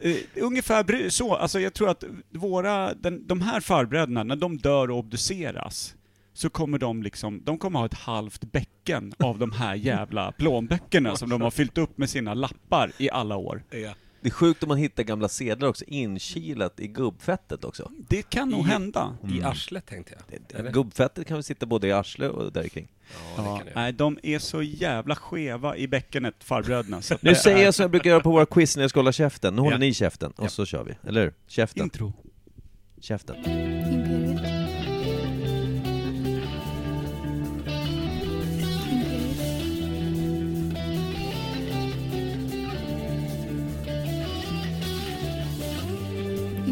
Speaker 2: Eh, ungefär bry- så, alltså jag tror att våra, den, de här farbröderna, när de dör och obduceras, så kommer de liksom, de kommer ha ett halvt bäcken av de här jävla plånböckerna som de har fyllt upp med sina lappar i alla år.
Speaker 3: Ja.
Speaker 1: Det är sjukt om man hittar gamla sedlar också, inkilat i gubbfettet också.
Speaker 2: Det kan nog hända.
Speaker 3: I arslet tänkte jag. Eller?
Speaker 1: Gubbfettet kan vi sitta både i arsle och där kring.
Speaker 3: Ja, det
Speaker 2: Ja,
Speaker 3: kan jag.
Speaker 2: nej, de är så jävla skeva i bäckenet, farbröderna. Så att
Speaker 1: Nu
Speaker 2: det
Speaker 1: säger
Speaker 2: är-
Speaker 1: jag som jag brukar göra på våra quiz när jag ska hålla käften. Nu håller
Speaker 3: Ja.
Speaker 1: ni käften, och så kör vi. Eller hur? Käften.
Speaker 2: Intro.
Speaker 1: Käften.
Speaker 5: Imperiet. Imperiet.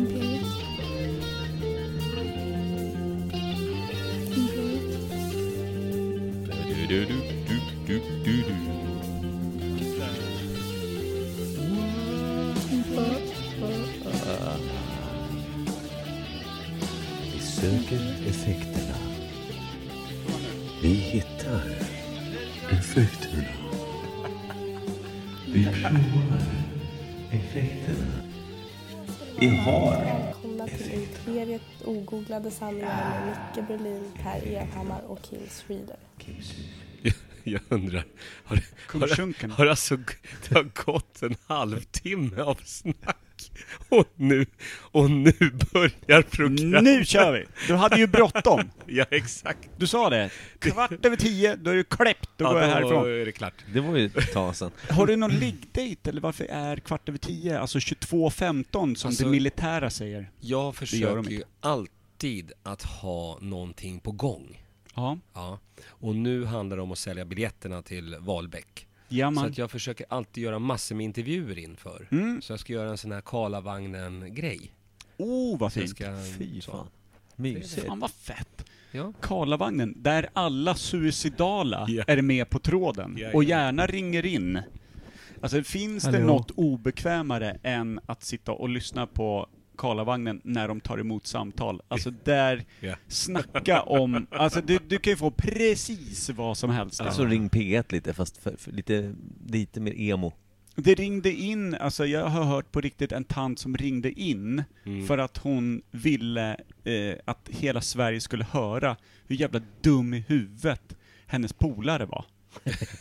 Speaker 5: Imperiet. Imperiet. Imperiet.
Speaker 1: Vi söker effekterna. Vi hittar effekterna. Vi provar effekterna. Vi har...
Speaker 6: Välkomna till Imperiet ogooglade sanningar med Micke Berlin, Per Evhammar och Kim Schreeder.
Speaker 3: Jag undrar, har, har,
Speaker 2: Kungsjunkarna.
Speaker 3: har alltså, det har gått en halvtimme av snack och nu, och nu börjar programmet.
Speaker 2: Nu kör vi! Du hade ju bråttom.
Speaker 3: Ja, exakt.
Speaker 2: Du sa det. Kvart över tio, då är du kläppt, då
Speaker 3: Ja,
Speaker 2: går jag
Speaker 3: då
Speaker 2: härifrån.
Speaker 3: är det klart.
Speaker 1: Det var ju ett tag sedan.
Speaker 2: Har du någon liggdate eller varför är kvart över tio, alltså 22.15 som
Speaker 3: Alltså-
Speaker 2: det militära säger?
Speaker 3: Jag
Speaker 2: gör
Speaker 3: försöker
Speaker 2: de
Speaker 3: ju alltid att ha någonting på gång.
Speaker 2: Ja.
Speaker 3: Ja. Och nu handlar det om att sälja biljetterna till Valbäck.
Speaker 2: Ja,
Speaker 3: Så
Speaker 2: man. Mm.
Speaker 3: att jag försöker alltid göra massor med intervjuer inför. Så jag ska göra en sån här Karlavagnen-grej.
Speaker 2: Oh, vad
Speaker 3: Så jag
Speaker 2: fint.
Speaker 3: ska-
Speaker 1: Fy
Speaker 3: så.
Speaker 1: fan. Mysigt.
Speaker 2: Fan vad fett.
Speaker 3: Ja.
Speaker 2: Karlavagnen, där alla suicidala
Speaker 3: Ja.
Speaker 2: är med på tråden
Speaker 3: Ja,
Speaker 2: och
Speaker 3: ja.
Speaker 2: gärna ringer in. Alltså finns det
Speaker 1: Hallå.
Speaker 2: något obekvämare än att sitta och lyssna på Karlavagnen när de tar emot samtal? Alltså där,
Speaker 3: Ja.
Speaker 2: snacka om, alltså du, du kan ju få precis vad som helst. där.
Speaker 1: Alltså ring P1 lite, fast för, för lite, lite mer emo.
Speaker 2: Det ringde in, alltså jag har hört på riktigt en tant som ringde in för att hon ville eh, att hela Sverige skulle höra hur jävla dum i huvudet hennes polare var.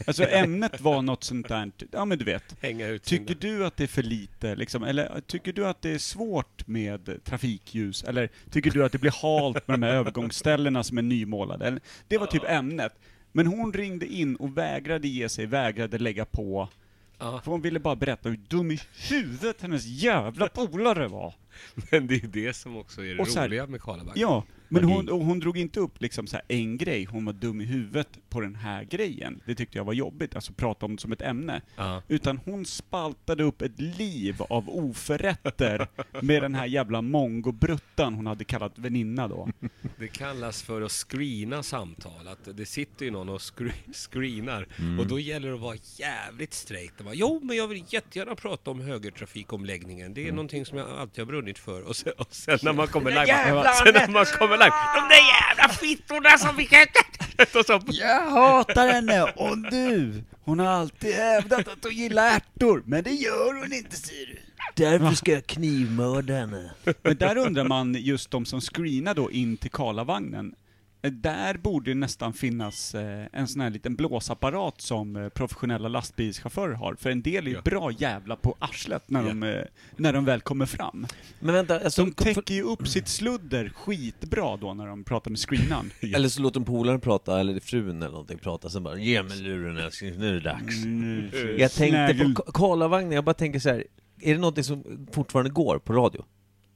Speaker 2: Alltså ämnet var något sånt där, ja men du vet.
Speaker 3: Hänga ut sin-
Speaker 2: Tycker du att det är för lite, liksom, eller tycker du att det är svårt med trafikljus, eller tycker du att det blir halt med de här övergångsställena som är nymålade? Eller, det var typ ämnet. Men hon ringde in och vägrade ge sig, vägrade lägga på.
Speaker 3: Ja.
Speaker 2: För hon ville bara berätta hur dum i huvudet hennes jävla polare var.
Speaker 3: Men det är det som också är det
Speaker 2: Och så här-
Speaker 3: roliga med Karlabacken.
Speaker 2: Ja, men
Speaker 3: Magi.
Speaker 2: hon, och hon drog inte upp liksom så här en grej, hon var dum i huvudet på den här grejen. Det tyckte jag var jobbigt, alltså prata om det som ett ämne.
Speaker 3: Ja.
Speaker 2: Utan hon spaltade upp ett liv av oförrätter med den här jävla mongobruttan hon hade kallat väninna då.
Speaker 3: Det kallas för att screena samtal. Att det sitter ju någon och scre- screenar. Och då gäller det att vara jävligt straight. Och bara, jo, men jag vill jättegärna prata om högertrafikomläggningen. Det är någonting som jag alltid har brunnit för. Och sen, och sen när man kommer live... Bara, sen när man kommer live... De där jävla fittorna som vi kan... och så,
Speaker 2: Jag hatar henne! Och du! Hon har alltid hävdat att hon gillar ärtor, men det gör hon inte ser du.
Speaker 1: Därför ska jag knivmörda henne.
Speaker 2: Men där undrar man, just de som screenar då in till Karlavagnen, eh, där borde ju nästan finnas eh, en sån här liten blåsapparat som eh, professionella lastbilschaufförer har, för en del är ju
Speaker 3: Ja.
Speaker 2: bra jävla på arslet när, de, eh, när de väl kommer fram.
Speaker 1: Men vänta, alltså,
Speaker 2: De täcker ju upp sitt sludder skitbra då när de pratar med screenaren.
Speaker 1: Eller så låter de polaren prata, eller frun eller någonting prata, sen bara ge mig luren älskling, nu är det dags.
Speaker 2: Mm.
Speaker 1: Jag tänkte på Ka- Karlavagnen, jag bara tänker så här. är det någonting som fortfarande går på radio?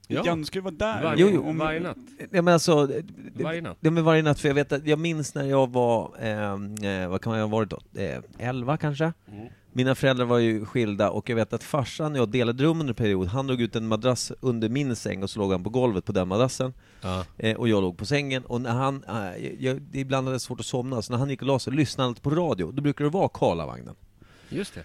Speaker 3: Ja.
Speaker 2: Jan skulle vara där.
Speaker 3: varje,
Speaker 1: Jo, jo.
Speaker 2: Om-
Speaker 3: varje natt.
Speaker 1: Ja men alltså, det- det-
Speaker 3: Varje natt.
Speaker 1: Ja men varje natt, för jag vet att, jag minns när jag var, eh, eh, vad kan jag ha varit då, eh, 11 kanske? Mina föräldrar var ju skilda och jag vet att farsan och jag delade rum under en period, han drog ut en madrass under min säng och så låg han på golvet på den madrassen.
Speaker 3: Ja.
Speaker 1: Eh, och jag låg på sängen och när han, eh, jag, det ibland hade jag svårt att somna, så när han gick och la sig lyssnade han alltid på radio, då brukade det vara Karlavagnen.
Speaker 3: Just det.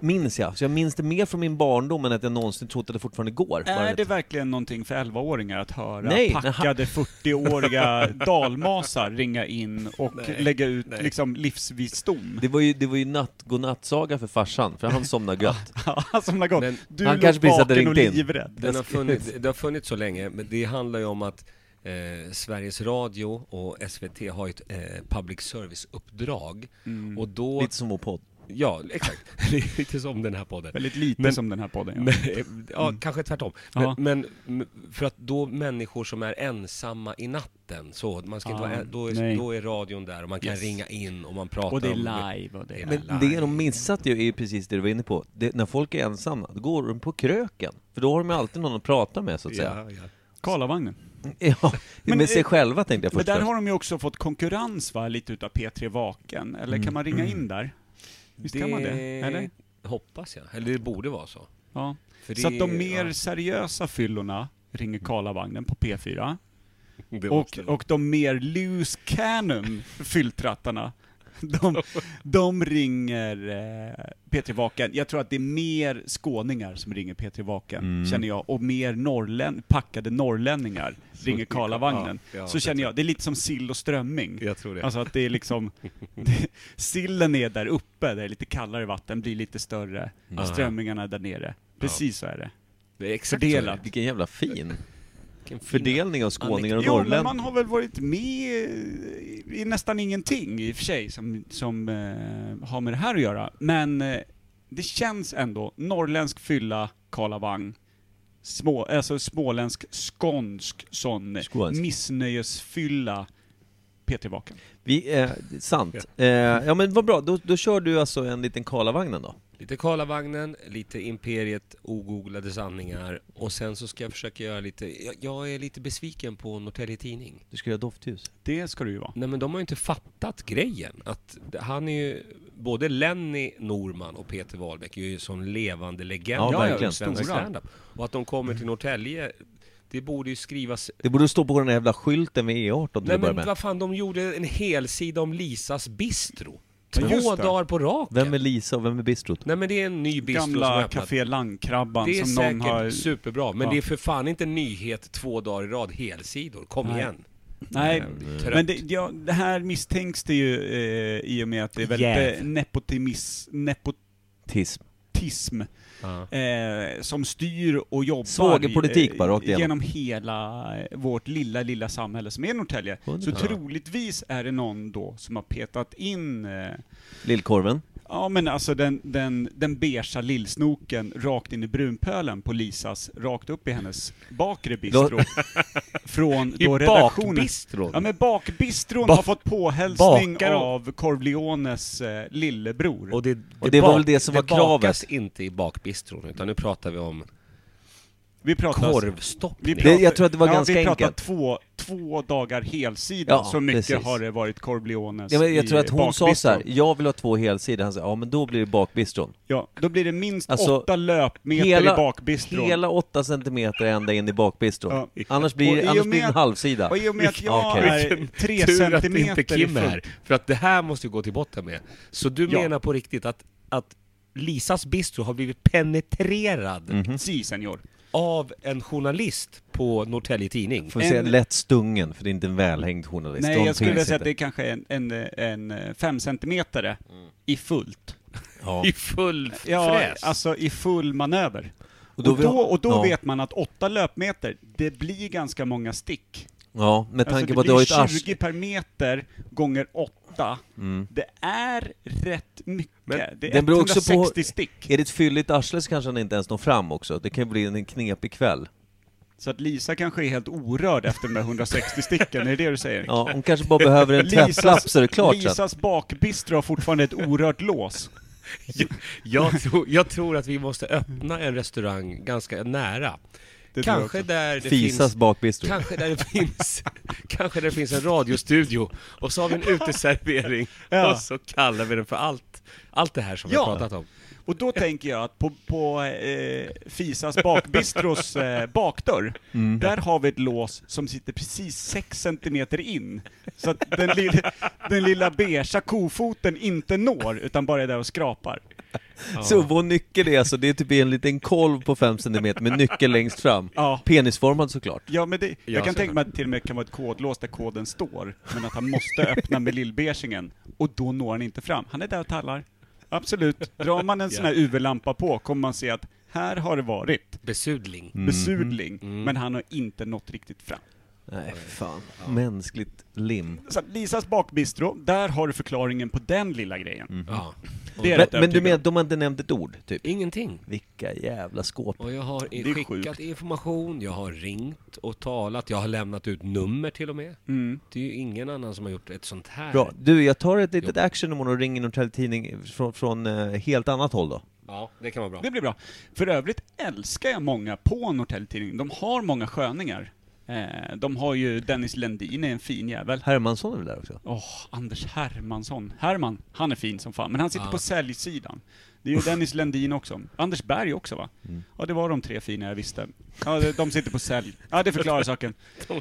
Speaker 1: Minns jag, så jag minns det mer från min barndom än att jag någonsin trott att Äh, det fortfarande går.
Speaker 2: Är
Speaker 1: Varje-
Speaker 2: det verkligen någonting för 11-åringar att höra
Speaker 1: Nej, när han-
Speaker 2: packade 40-åriga dalmasar ringa in och lägga ut
Speaker 3: nej.
Speaker 2: liksom livsvisdom?
Speaker 1: det var ju, det var ju natt, godnattsaga för farsan, för han somnade gött.
Speaker 2: Ja, som har gått.
Speaker 3: Men
Speaker 2: Alltså, du
Speaker 1: han
Speaker 2: låg
Speaker 1: kanske precis hade
Speaker 2: vaken och
Speaker 1: ringt in.
Speaker 2: livrädd.
Speaker 3: Den har funnits, det har funnits så länge, men det handlar ju om att eh, Sveriges Radio och SVT har ett eh, public service-uppdrag.
Speaker 2: Mm.
Speaker 3: Och då...
Speaker 1: Lite som vår podd.
Speaker 3: Ja, exakt. Det är Lite som den här podden.
Speaker 2: Väldigt lite
Speaker 3: Men-
Speaker 2: som den här podden. Ja.
Speaker 3: Men, eh, ja, kanske tvärtom.
Speaker 2: Mm. Ja.
Speaker 3: Men, men m- för att då människor som är ensamma i natten, så man ska inte
Speaker 2: Ah,
Speaker 3: vara, en- då,
Speaker 2: nej.
Speaker 3: är, då är radion där och man kan
Speaker 2: Yes.
Speaker 3: ringa in och man pratar
Speaker 2: och det är
Speaker 3: om...
Speaker 2: live och det är...
Speaker 1: Men det de missat ju är ju precis det du var inne på. Det, när folk är ensamma, då går de på kröken. För då har de ju alltid någon att prata med så att säga.
Speaker 3: Ja, ja.
Speaker 2: Karlavagnen.
Speaker 1: Ja,
Speaker 2: Men,
Speaker 1: med sig
Speaker 2: eh,
Speaker 1: själva tänkte jag
Speaker 2: Men
Speaker 1: först.
Speaker 2: där har de ju också fått konkurrens va, lite utav P3 Vaken. Eller kan man ringa in där? Visst kan man det? Eller?
Speaker 3: hoppas jag. Eller det borde vara så.
Speaker 2: Ja.
Speaker 3: För
Speaker 2: Så
Speaker 3: det-
Speaker 2: att de mer
Speaker 3: ja.
Speaker 2: seriösa fyllorna ringer Karlavagnen på P4.
Speaker 3: Det
Speaker 2: Och,
Speaker 3: måste det.
Speaker 2: och de mer loose cannon fylltrattarna, de, de ringer eh, P3 Vaken. Jag tror att det är mer skåningar som ringer P3 Vaken,
Speaker 3: Mm.
Speaker 2: känner jag. Och mer norrlän, packade norrlänningar ringer Karlavagnen.
Speaker 3: Ja, ja,
Speaker 2: så
Speaker 3: det
Speaker 2: känner jag. Det är lite som sill och strömming.
Speaker 3: Jag tror det.
Speaker 2: Alltså att det är liksom, det, sillen är där uppe, där det är lite kallare vatten, blir lite större. Strömmingarna är där nere. Precis så är det.
Speaker 3: det är exakt
Speaker 2: Fördelat.
Speaker 1: Vilken jävla fin
Speaker 3: Vilken fin-
Speaker 1: fördelning av skåningar och
Speaker 2: Jo, men man
Speaker 1: norrlänningar.
Speaker 2: har väl varit med i- i nästan ingenting i och för sig som, som eh, har med det här att göra. Men eh, det känns ändå, norrländsk fylla, Karlavang, små, alltså småländsk, skånsk sån
Speaker 1: Skånsk.
Speaker 2: missnöjesfylla Peter Vaken.
Speaker 1: Vi, eh, det är sant. Eh, ja men vad bra, då, då kör du alltså en liten Karlavagnen då?
Speaker 3: Lite Karlavagnen, lite Imperiet, ogooglade sanningar och sen så ska jag försöka göra lite... Jag, jag är lite besviken på Norrtelje Tidning.
Speaker 1: Du ska göra doftljus.
Speaker 2: Det ska du ju vara.
Speaker 3: Nej men de har ju inte fattat grejen. Att han är ju, både Lenny Norman och Peter Wahlbeck är ju som levande legender
Speaker 1: Ja,
Speaker 3: i
Speaker 1: verkligen.
Speaker 3: svensk
Speaker 2: Stora.
Speaker 3: standup. Och att de kommer till Norrtälje, det borde ju skrivas...
Speaker 1: Det borde stå på den här jävla skylten vid E18 till
Speaker 3: Nej
Speaker 1: att börja
Speaker 3: men
Speaker 1: med.
Speaker 3: vad fan, de gjorde en helsida om Lisas bistro.
Speaker 2: Ja,
Speaker 3: Två
Speaker 2: just det.
Speaker 3: dagar på raken.
Speaker 1: Vem är Lisa och vem är bistrot?
Speaker 3: Nej men det är en ny bistro som har
Speaker 2: Gamla
Speaker 3: öppnat.
Speaker 2: Café Landkrabban
Speaker 3: Det är
Speaker 2: som någon
Speaker 3: säkert
Speaker 2: har...
Speaker 3: superbra, men
Speaker 2: Ja.
Speaker 3: det är för fan inte en nyhet två dagar i rad, helsidor. Kom
Speaker 2: Nej.
Speaker 3: igen.
Speaker 2: Nej,
Speaker 3: Trött.
Speaker 2: men det, ja, det här misstänks det ju eh, i och med att det är väldigt
Speaker 3: Jäv.
Speaker 2: yeah. nepotimis, nepotism
Speaker 1: Tism.
Speaker 3: Ja.
Speaker 2: eh, som styr och jobbar
Speaker 1: Svågerpolitik
Speaker 2: i-
Speaker 1: bara, rakt igenom.
Speaker 2: genom hela eh, vårt lilla, lilla samhälle som är Norrtälje. Så
Speaker 1: Underbart.
Speaker 2: troligtvis är det någon då som har petat in, eh,
Speaker 1: Lillkorven.
Speaker 2: ja men alltså den, den, den beigea lillsnoken rakt in i brunpölen på Lisas, rakt upp i hennes bakre bistro. från då redaktionen.
Speaker 3: bakbistron?
Speaker 2: Ja men bakbistron
Speaker 3: Ba-
Speaker 2: har fått påhälsning
Speaker 3: bakar de?
Speaker 2: av Corvleones eh, lillebror.
Speaker 3: Och det,
Speaker 1: det var väl det som var
Speaker 3: bakas
Speaker 1: kravet.
Speaker 3: inte i bakbistron, utan nu pratar vi om
Speaker 2: Vi pratar... alltså-
Speaker 3: Korvstoppning.
Speaker 2: Vi
Speaker 1: Det- jag tror att det var
Speaker 2: ja,
Speaker 1: ganska
Speaker 2: vi pratar
Speaker 1: enkelt.
Speaker 2: två, två dagar helsida,
Speaker 1: Ja,
Speaker 2: så mycket
Speaker 1: precis.
Speaker 2: har det varit Corbliones
Speaker 1: Ja, men jag
Speaker 2: i
Speaker 1: tror att hon sa
Speaker 2: bakbistron.
Speaker 1: så här, jag vill ha två helsidor. Han sa, ja men då blir det bakbistron.
Speaker 2: Ja, då blir det minst
Speaker 1: Alltså,
Speaker 2: åtta löpmeter i bakbistron.
Speaker 1: hela 8 centimeter ända in i bakbistron.
Speaker 2: Ja.
Speaker 1: Annars
Speaker 2: Och
Speaker 1: blir,
Speaker 2: i och
Speaker 1: det- annars blir det
Speaker 2: med-
Speaker 1: en halvsida.
Speaker 2: Och i och med att jag
Speaker 1: Okej.
Speaker 2: är tre
Speaker 3: Tur att
Speaker 2: centimeter
Speaker 3: inte Kim är
Speaker 2: ifrån-
Speaker 3: här, för att det här måste ju gå till botten med. Så du
Speaker 2: Ja.
Speaker 3: menar på riktigt att, att Lisas bistro har blivit penetrerad
Speaker 1: Mm.
Speaker 2: Si, senior.
Speaker 3: av en journalist på Norrtelje Tidning?
Speaker 1: Får vi säga
Speaker 2: en-
Speaker 1: lätt stungen, för det är inte en välhängd journalist.
Speaker 2: Nej,
Speaker 1: De
Speaker 2: jag skulle
Speaker 1: finns
Speaker 2: vilja säga att det är
Speaker 1: inte.
Speaker 2: kanske en, en, en eh, fem centimetare i fullt.
Speaker 1: Ja.
Speaker 3: I full f-
Speaker 2: Ja,
Speaker 3: fräs!
Speaker 2: alltså i full manöver.
Speaker 1: Och
Speaker 2: Och
Speaker 1: då
Speaker 2: då,
Speaker 1: vill-
Speaker 2: och då
Speaker 1: ja.
Speaker 2: vet man att åtta löpmeter, det blir ganska många stick.
Speaker 1: ja, med tanke på
Speaker 2: alltså, det
Speaker 1: att du har ett
Speaker 2: blir
Speaker 1: arsle.
Speaker 2: 20 per meter gånger åtta. Det är rätt mycket.
Speaker 3: Men
Speaker 2: det är
Speaker 1: det beror också på-
Speaker 2: 160 stick.
Speaker 1: Är det ett fylligt arsle så kanske han inte ens når fram också. Det kan ju bli en knepig kväll.
Speaker 2: Så att Lisa kanske är helt orörd efter de här 160 sticken, är det det du säger?
Speaker 1: Ja, hon kanske bara behöver en tvättlapp så är det klart sen.
Speaker 2: Lisas bakbistro har fortfarande ett orört lås.
Speaker 3: jag, jag, tror, jag tror att vi måste öppna en restaurang ganska nära.
Speaker 2: Det tror jag
Speaker 3: Kanske
Speaker 2: också.
Speaker 3: där det
Speaker 1: Fisas
Speaker 3: finns...
Speaker 1: bakbistro.
Speaker 3: Kanske där, det finns, kanske där det finns en radiostudio och så har vi en uteservering
Speaker 2: Ja.
Speaker 3: och så kallar vi den för allt, allt det här som vi
Speaker 2: Ja.
Speaker 3: har pratat om.
Speaker 2: Och då tänker jag att på, på eh, Fisas bakbistros eh, bakdörr, där har vi ett lås som sitter precis 6 centimeter in. Så att den, lilla, den lilla beigea kofoten inte når, utan bara är där och skrapar.
Speaker 1: Så vår nyckel är alltså, det är typ en liten kolv på 5 cm med nyckel längst fram.
Speaker 2: Ja.
Speaker 1: Penisformad såklart.
Speaker 2: Ja, men det, jag
Speaker 3: Ja,
Speaker 2: kan
Speaker 3: så-
Speaker 2: tänka mig att det till och med kan vara ett kodlås där koden står, men att han måste öppna med lillbeigingen, och då når han inte fram. Han är där och tallar. Absolut. Drar man en sån här UV-lampa på kommer man se att här har det varit
Speaker 3: Besudling.
Speaker 2: Mm. besudling, men han har inte nått riktigt fram.
Speaker 1: Nej, fan. Mänskligt lim.
Speaker 2: Så att Lisas bakbistro, där har du förklaringen på den lilla grejen.
Speaker 3: Ja.
Speaker 2: Det är
Speaker 1: Men,
Speaker 2: rätt
Speaker 1: men du
Speaker 2: övertygande.
Speaker 1: menar, de har inte nämnt ett ord, typ?
Speaker 3: Ingenting.
Speaker 1: Vilka jävla skåp.
Speaker 3: Och jag har i-
Speaker 2: Det är
Speaker 3: skickat
Speaker 2: sjukt.
Speaker 3: information, jag har ringt och talat, jag har lämnat ut nummer till och med.
Speaker 2: Mm.
Speaker 3: Det är ju ingen annan som har gjort ett sånt här.
Speaker 1: Bra. Du, jag tar ett litet action imorgon och ringer Norrtelje Tidning från, från eh, helt annat håll då.
Speaker 3: Ja, det kan vara bra.
Speaker 2: Det blir bra. För övrigt älskar jag många på Norrtelje Tidning. De har många sköningar. Eh, de har ju Dennis Lendin, är en fin jävel.
Speaker 1: Hermansson är väl där också?
Speaker 2: Åh, Anders Hermansson. Herman, han är fin som fan, men han sitter
Speaker 3: Ja.
Speaker 2: på säljsidan. Det är ju Dennis Lendin också. Anders Berg också va?
Speaker 1: Mm.
Speaker 2: Ja, det var de tre fina jag visste. Ja, de- de sitter på sälj. Ja, det förklarar saken.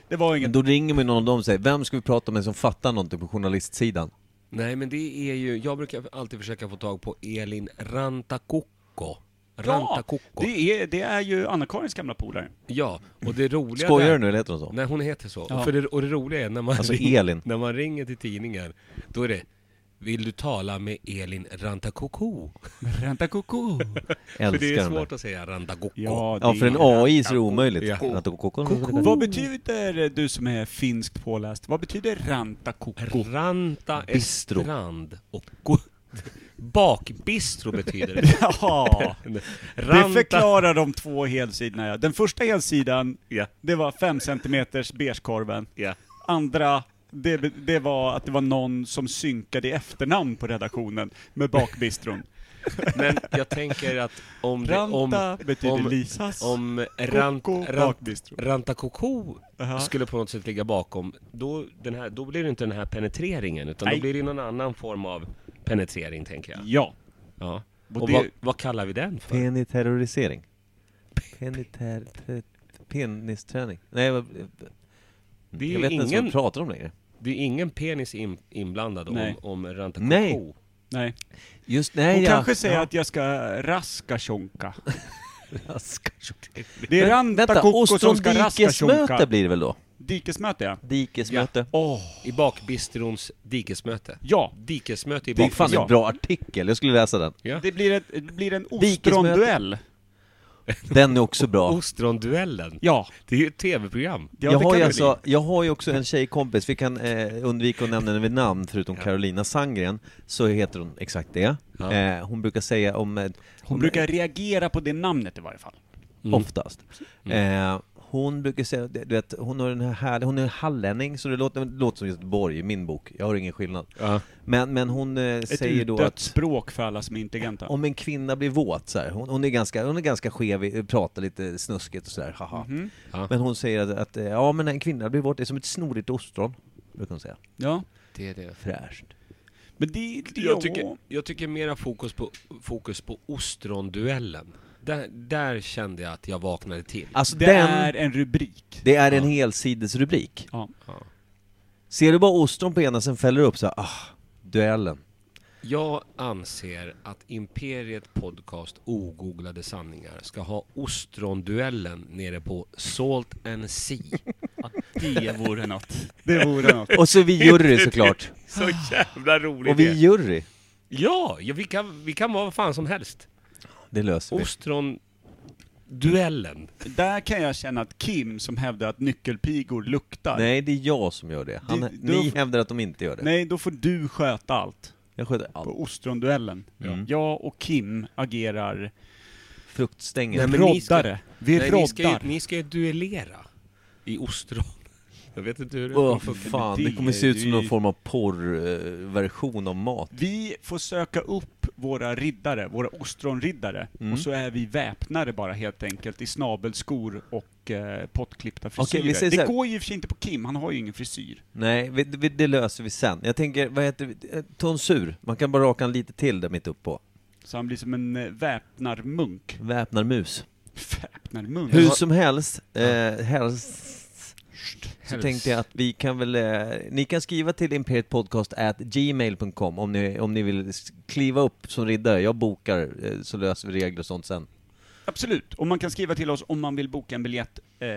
Speaker 2: Det var inget...
Speaker 1: Då ringer mig någon av dem och säger, vem ska vi prata med som fattar någonting på journalistsidan?
Speaker 3: Nej, men det är ju, jag brukar alltid försöka få tag på Elin Rantakokko. Rantakokko.
Speaker 2: Ja, det är, det är ju Anna-Karins gamla polare.
Speaker 3: Ja, och det roliga
Speaker 1: Skojar
Speaker 3: där-
Speaker 1: du nu eller heter hon så?
Speaker 3: Nej, hon heter så.
Speaker 2: Ja.
Speaker 3: För det, och det roliga är när man,
Speaker 1: Alltså
Speaker 3: ringer,
Speaker 1: Elin.
Speaker 3: när man ringer till tidningen, då är det Vill du tala med Elin Rantakoko?
Speaker 2: Ränta koko.
Speaker 3: För det
Speaker 1: Älskar
Speaker 3: är
Speaker 1: den där.
Speaker 3: svårt att säga Rantakoko.
Speaker 2: Ja, det
Speaker 1: Ja, för en
Speaker 2: är...
Speaker 1: AI så är det omöjligt.
Speaker 3: Ja.
Speaker 1: Att-
Speaker 2: Vad betyder, du som är finskt påläst, vad betyder ranta koko?
Speaker 3: Ranta
Speaker 1: Bistro.
Speaker 3: Estrand och go- Bakbistro betyder det.
Speaker 2: Ja,
Speaker 3: Ranta...
Speaker 2: det förklarar de två helsidorna ja. Den första helsidan,
Speaker 3: Ja.
Speaker 2: det var 5 centimeters beigekorven.
Speaker 3: Ja.
Speaker 2: Andra, det, be- det var att det var någon som synkade i efternamn på redaktionen med bakbistron.
Speaker 3: Men jag tänker att om... Det, om
Speaker 2: Ranta betyder Lisas.
Speaker 3: Om rant,
Speaker 2: Koko
Speaker 3: rant,
Speaker 2: bakbistro.
Speaker 3: Ranta Koko
Speaker 2: Aha.
Speaker 3: skulle på något sätt ligga bakom, då, den här, då blir det inte den här penetreringen, utan
Speaker 2: Nej.
Speaker 3: då blir det någon annan form av penetrering, tänker jag.
Speaker 2: Ja.
Speaker 3: Ja.
Speaker 2: Och
Speaker 3: Och,
Speaker 2: det-
Speaker 3: vad, vad kallar vi den för?
Speaker 1: Peniterrorisering. Peniter... te- Penisträning. Nej, vad...
Speaker 3: Det
Speaker 1: Jag
Speaker 3: är,
Speaker 1: vet inte
Speaker 3: ju
Speaker 1: ens vad
Speaker 3: ingen,
Speaker 1: vi pratar om längre.
Speaker 3: det är ingen penis in, inblandad om,
Speaker 2: Nej.
Speaker 3: om Ranta
Speaker 1: Nej.
Speaker 3: Koko.
Speaker 2: Nej.
Speaker 1: Just nej,
Speaker 2: Hon
Speaker 1: ja.
Speaker 2: kanske säger
Speaker 1: ja.
Speaker 2: att jag ska raska tjonka.
Speaker 1: Jag ska-
Speaker 2: Det är
Speaker 1: Men
Speaker 2: ranta
Speaker 1: Vänta,
Speaker 2: koko som ska raska
Speaker 1: ostron-dikesmöte
Speaker 2: tjonka.
Speaker 1: blir det väl då?
Speaker 2: Dikesmöte ja.
Speaker 1: Dikesmöte.
Speaker 2: Åh,
Speaker 3: I bakbistrons dikesmöte.
Speaker 2: ja.
Speaker 3: Dikesmöte i
Speaker 1: Det är fan
Speaker 3: bakbistron.
Speaker 2: Ja.
Speaker 1: en bra artikel, jag skulle läsa den.
Speaker 3: Ja.
Speaker 2: Det blir, ett, det blir en
Speaker 1: Dikesmöte.
Speaker 2: ostronduell.
Speaker 1: Den är också bra.
Speaker 3: Ostronduellen.
Speaker 2: Ja.
Speaker 3: Det är ju ett tv-program.
Speaker 2: Ja,
Speaker 1: jag,
Speaker 2: det
Speaker 1: har
Speaker 2: kan
Speaker 1: ju
Speaker 2: det
Speaker 1: alltså, jag har ju också en tjejkompis, vi kan eh, undvika att nämna henne vid namn förutom Carolina Sandgren, så heter hon exakt det.
Speaker 3: Ja.
Speaker 1: Eh, hon brukar säga om... eh,
Speaker 2: mm. Hon brukar reagera på det namnet i varje fall. Mm.
Speaker 1: Oftast. Eh, Hon brukar säga, du vet, hon har den här härliga, hon är hallänning, så det låter, det låter som Göteborg i min bok. Jag har ingen skillnad.
Speaker 3: Ja.
Speaker 1: Men, men hon eh,
Speaker 2: Ett
Speaker 1: säger då
Speaker 2: utdött
Speaker 1: att
Speaker 2: språk för alla som är intelligenta.
Speaker 1: om en kvinna blir våt så här, hon, hon, är ganska, hon är ganska skev, i- pratar lite snuskigt och sådär, haha.
Speaker 2: Mhm.
Speaker 3: Ja.
Speaker 1: Men hon säger att, att, eh, ja men en kvinna blir våt, det är som ett snorigt ostron, brukar hon säga.
Speaker 2: Ja.
Speaker 3: Det är det.
Speaker 1: Fräscht.
Speaker 2: Men det, det
Speaker 3: Jag tycker, jag tycker mera fokus på, fokus på ostronduellen. Där, där kände jag att jag vaknade till.
Speaker 1: Alltså
Speaker 2: det
Speaker 1: den,
Speaker 2: är en rubrik.
Speaker 1: det är en
Speaker 3: Ja.
Speaker 1: helsidesrubrik.
Speaker 2: Ja.
Speaker 1: Ser du bara ostron på ena, sen fäller du upp så här, ah, duellen.
Speaker 3: Jag anser att Imperiet Podcast Ogooglade sanningar ska ha ostronduellen nere på Salt and Sea.
Speaker 2: Det vore något. Det vore något.
Speaker 1: Och så är vi jury såklart.
Speaker 2: Så jävla rolig
Speaker 1: Och vi är jury.
Speaker 3: Ja, ja vi, kan, vi kan vara vad fan som helst.
Speaker 1: Det löser vi.
Speaker 3: Ostronduellen.
Speaker 2: Där kan jag känna att Kim, som hävdar att nyckelpigor luktar.
Speaker 1: Nej, det är jag som gör det. Han,
Speaker 2: Du- du-
Speaker 1: ni hävdar att de inte gör det.
Speaker 2: Nej, då får du sköta allt.
Speaker 1: Jag sköter allt.
Speaker 2: På ostronduellen.
Speaker 3: Mm.
Speaker 2: Jag och Kim agerar
Speaker 1: Fruktstänger.
Speaker 3: Nej, men ni ska-
Speaker 2: roddare. Vi
Speaker 3: Nej,
Speaker 2: roddar.
Speaker 3: ni, ska, ju- ni ska ju duellera i ostron. Jag vet inte hur det
Speaker 1: Åh, för fan. Det kommer se ut som
Speaker 2: Det är
Speaker 1: någon
Speaker 2: ju-
Speaker 1: form av porrversion av mat.
Speaker 2: Vi får söka upp våra riddare, våra ostronriddare,
Speaker 1: Mm.
Speaker 2: och så är vi väpnare bara helt enkelt i snabelskor och eh, pottklippta frisyrer.
Speaker 1: vi säger så
Speaker 2: det
Speaker 1: här-
Speaker 2: går ju i och för sig inte på Kim, han har ju ingen frisyr.
Speaker 1: Nej, vi, vi, det löser vi sen. Jag tänker, vad heter det? Eh, Tonsur. Man kan bara raka en lite till där mitt upp på.
Speaker 2: Så han blir som en eh, väpnarmunk.
Speaker 1: Väpnar mus.
Speaker 2: Väpnarmunk?
Speaker 1: Hur som helst, eh, helst så tänkte jag att vi kan väl, eh, ni kan skriva till imperietpodcast@gmail.com om ni, om ni vill s- kliva upp som riddare. Jag bokar, eh, så löser vi regler och sånt sen.
Speaker 2: Absolut, och man kan skriva till oss om man vill boka en biljett, eh,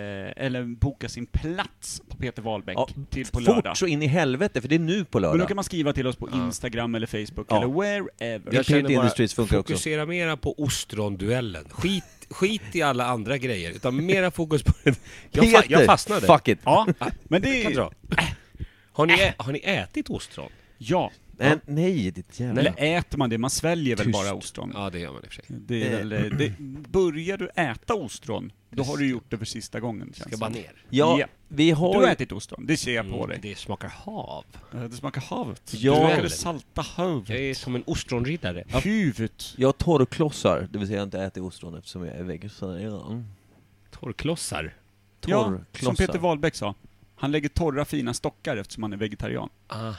Speaker 2: eller boka sin plats på Peter Wahlbeck till på lördag.
Speaker 1: fort så in i helvete, för det är nu på
Speaker 2: Men då kan
Speaker 1: lördag.
Speaker 2: man skriva till oss på Instagram eller Facebook
Speaker 1: Ja.
Speaker 2: eller wherever.
Speaker 1: Jag
Speaker 3: känner
Speaker 1: Imperiet Industries funkar också.
Speaker 3: fokusera mera på ostronduellen. Skit, skit i alla andra grejer, utan mera fokus på den. Jag, fa- jag
Speaker 1: Peter,
Speaker 3: fastnade.
Speaker 1: Fuck it.
Speaker 2: Ja, men det
Speaker 3: Kan
Speaker 2: är...
Speaker 3: dra. Har, ni ä- har ni ätit ostron?
Speaker 2: Ja.
Speaker 1: Men, Äh, nej, ditt jävla...
Speaker 2: Eller äter man det? Man sväljer väl
Speaker 1: Tyst.
Speaker 2: bara ostron?
Speaker 3: Ja, det gör man i och för sig.
Speaker 2: Det är
Speaker 1: Eh.
Speaker 2: väl, det, börjar du äta ostron, då har du gjort det för sista gången. känns
Speaker 3: Ska
Speaker 2: det
Speaker 3: bara
Speaker 2: som.
Speaker 3: ner. Mm,
Speaker 1: Ja,
Speaker 2: Ja.
Speaker 1: vi har
Speaker 2: Du har
Speaker 1: ju-
Speaker 2: ätit ostron, det ser jag på dig.
Speaker 3: Det smakar hav.
Speaker 2: Eh, Det smakar havet.
Speaker 1: Ja.
Speaker 2: Det smakar det salta havet.
Speaker 3: Jag är som en ostronriddare.
Speaker 2: Huvudet.
Speaker 1: Jag tar och klossar, det vill säga jag har inte äter ostron eftersom jag är vegetarian.
Speaker 3: Torrklossar.
Speaker 2: Ja,
Speaker 1: Torrklossar.
Speaker 2: som Peter Wahlbeck sa. Han lägger torra fina stockar eftersom han är vegetarian.
Speaker 3: Ah,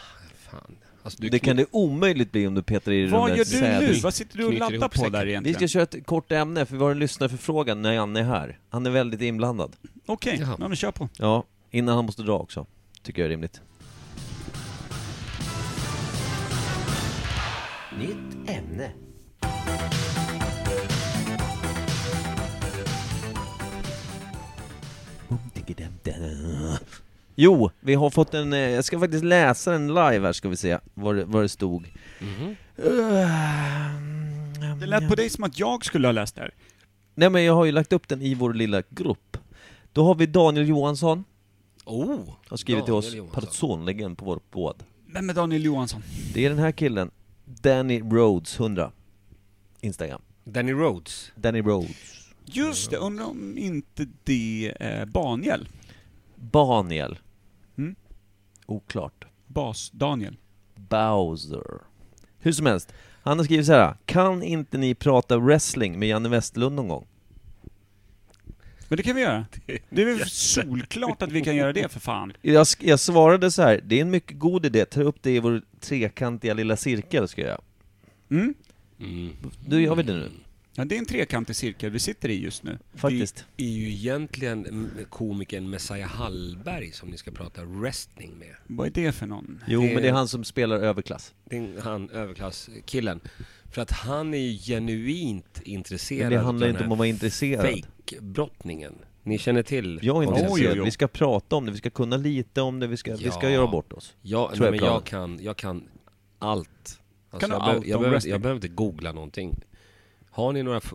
Speaker 3: fan. Alltså, du
Speaker 1: Det kan det omöjligt bli om du petar i de
Speaker 2: Vad
Speaker 1: där
Speaker 2: gör du nu?
Speaker 1: sädeskorna.
Speaker 2: Vad sitter du och
Speaker 3: Knyter
Speaker 2: laddar
Speaker 3: ihop
Speaker 2: på
Speaker 3: säcken.
Speaker 2: där
Speaker 1: Vi ska
Speaker 2: egentligen?
Speaker 1: köra ett kort ämne, för vi har en lyssnarförfrågan när Janne är här. Han är väldigt inblandad.
Speaker 2: Okej,
Speaker 3: Jaha.
Speaker 2: ja, men kör på.
Speaker 1: Ja, innan han måste dra också. Tycker jag är rimligt. Nytt ämne. Jo, vi har fått en, eh, jag ska faktiskt läsa den live här ska vi se, vad det, vad det stod.
Speaker 3: Mhm.
Speaker 1: Ehm,
Speaker 2: Det lät på dig som att jag skulle ha läst det här.
Speaker 1: Nej men jag har ju lagt upp den i vår lilla grupp. Då har vi Daniel Johansson,
Speaker 3: Oh!
Speaker 1: har skrivit till
Speaker 3: Daniel
Speaker 1: oss
Speaker 3: Johansson.
Speaker 1: personligen på vår båd.
Speaker 2: Vem är Daniel Johansson?
Speaker 1: Det är den här killen, Danny Rhodes 100 Instagram.
Speaker 3: Danny Rhodes.
Speaker 1: Danny Rhodes.
Speaker 2: Just det, undrar om inte det är Baniel?
Speaker 1: Baniel.
Speaker 2: Mm.
Speaker 1: Oklart.
Speaker 2: Bas-Daniel.
Speaker 1: Bowser. Hur som helst, han har skrivit så här. Kan inte ni prata wrestling med Janne Westlund någon gång?
Speaker 2: Men det kan vi göra. Det är väl solklart att vi kan göra det för fan.
Speaker 1: Jag, sk- jag svarade så här. det är en mycket god idé, ta upp det i vår trekantiga lilla cirkel ska jag göra.
Speaker 2: Mm?
Speaker 1: Nu gör vi det nu,
Speaker 2: Ja, det är en trekantig cirkel vi sitter i just nu.
Speaker 1: faktiskt.
Speaker 3: Det är ju egentligen mm, komikern Messiah Hallberg som ni ska prata wrestling med.
Speaker 2: Vad är det för någon?
Speaker 1: Jo,
Speaker 3: Det-
Speaker 1: men det är han som spelar överklass.
Speaker 3: Det är han överklasskillen. För att han är ju genuint
Speaker 1: Men
Speaker 3: intresserad
Speaker 1: det
Speaker 3: av
Speaker 1: handlar
Speaker 3: den
Speaker 1: inte om
Speaker 3: här
Speaker 1: att vara intresserad.
Speaker 3: Fake-brottningen. Ni känner till?
Speaker 1: Jag är
Speaker 2: Oj,
Speaker 1: intresserad.
Speaker 2: oj, oj.
Speaker 1: Vi ska prata om det, vi ska kunna lite om det, vi ska, vi ska
Speaker 3: Ja.
Speaker 1: göra bort oss. Tror
Speaker 3: Ja, nej,
Speaker 1: jag
Speaker 3: men
Speaker 1: är
Speaker 3: jag
Speaker 1: planen.
Speaker 3: kan, jag kan allt. Alltså,
Speaker 2: Kan du
Speaker 3: jag,
Speaker 2: allt
Speaker 3: behöver- jag,
Speaker 2: om
Speaker 3: behöver,
Speaker 2: wrestling?
Speaker 3: jag behöver inte googla någonting. Har ni några... f-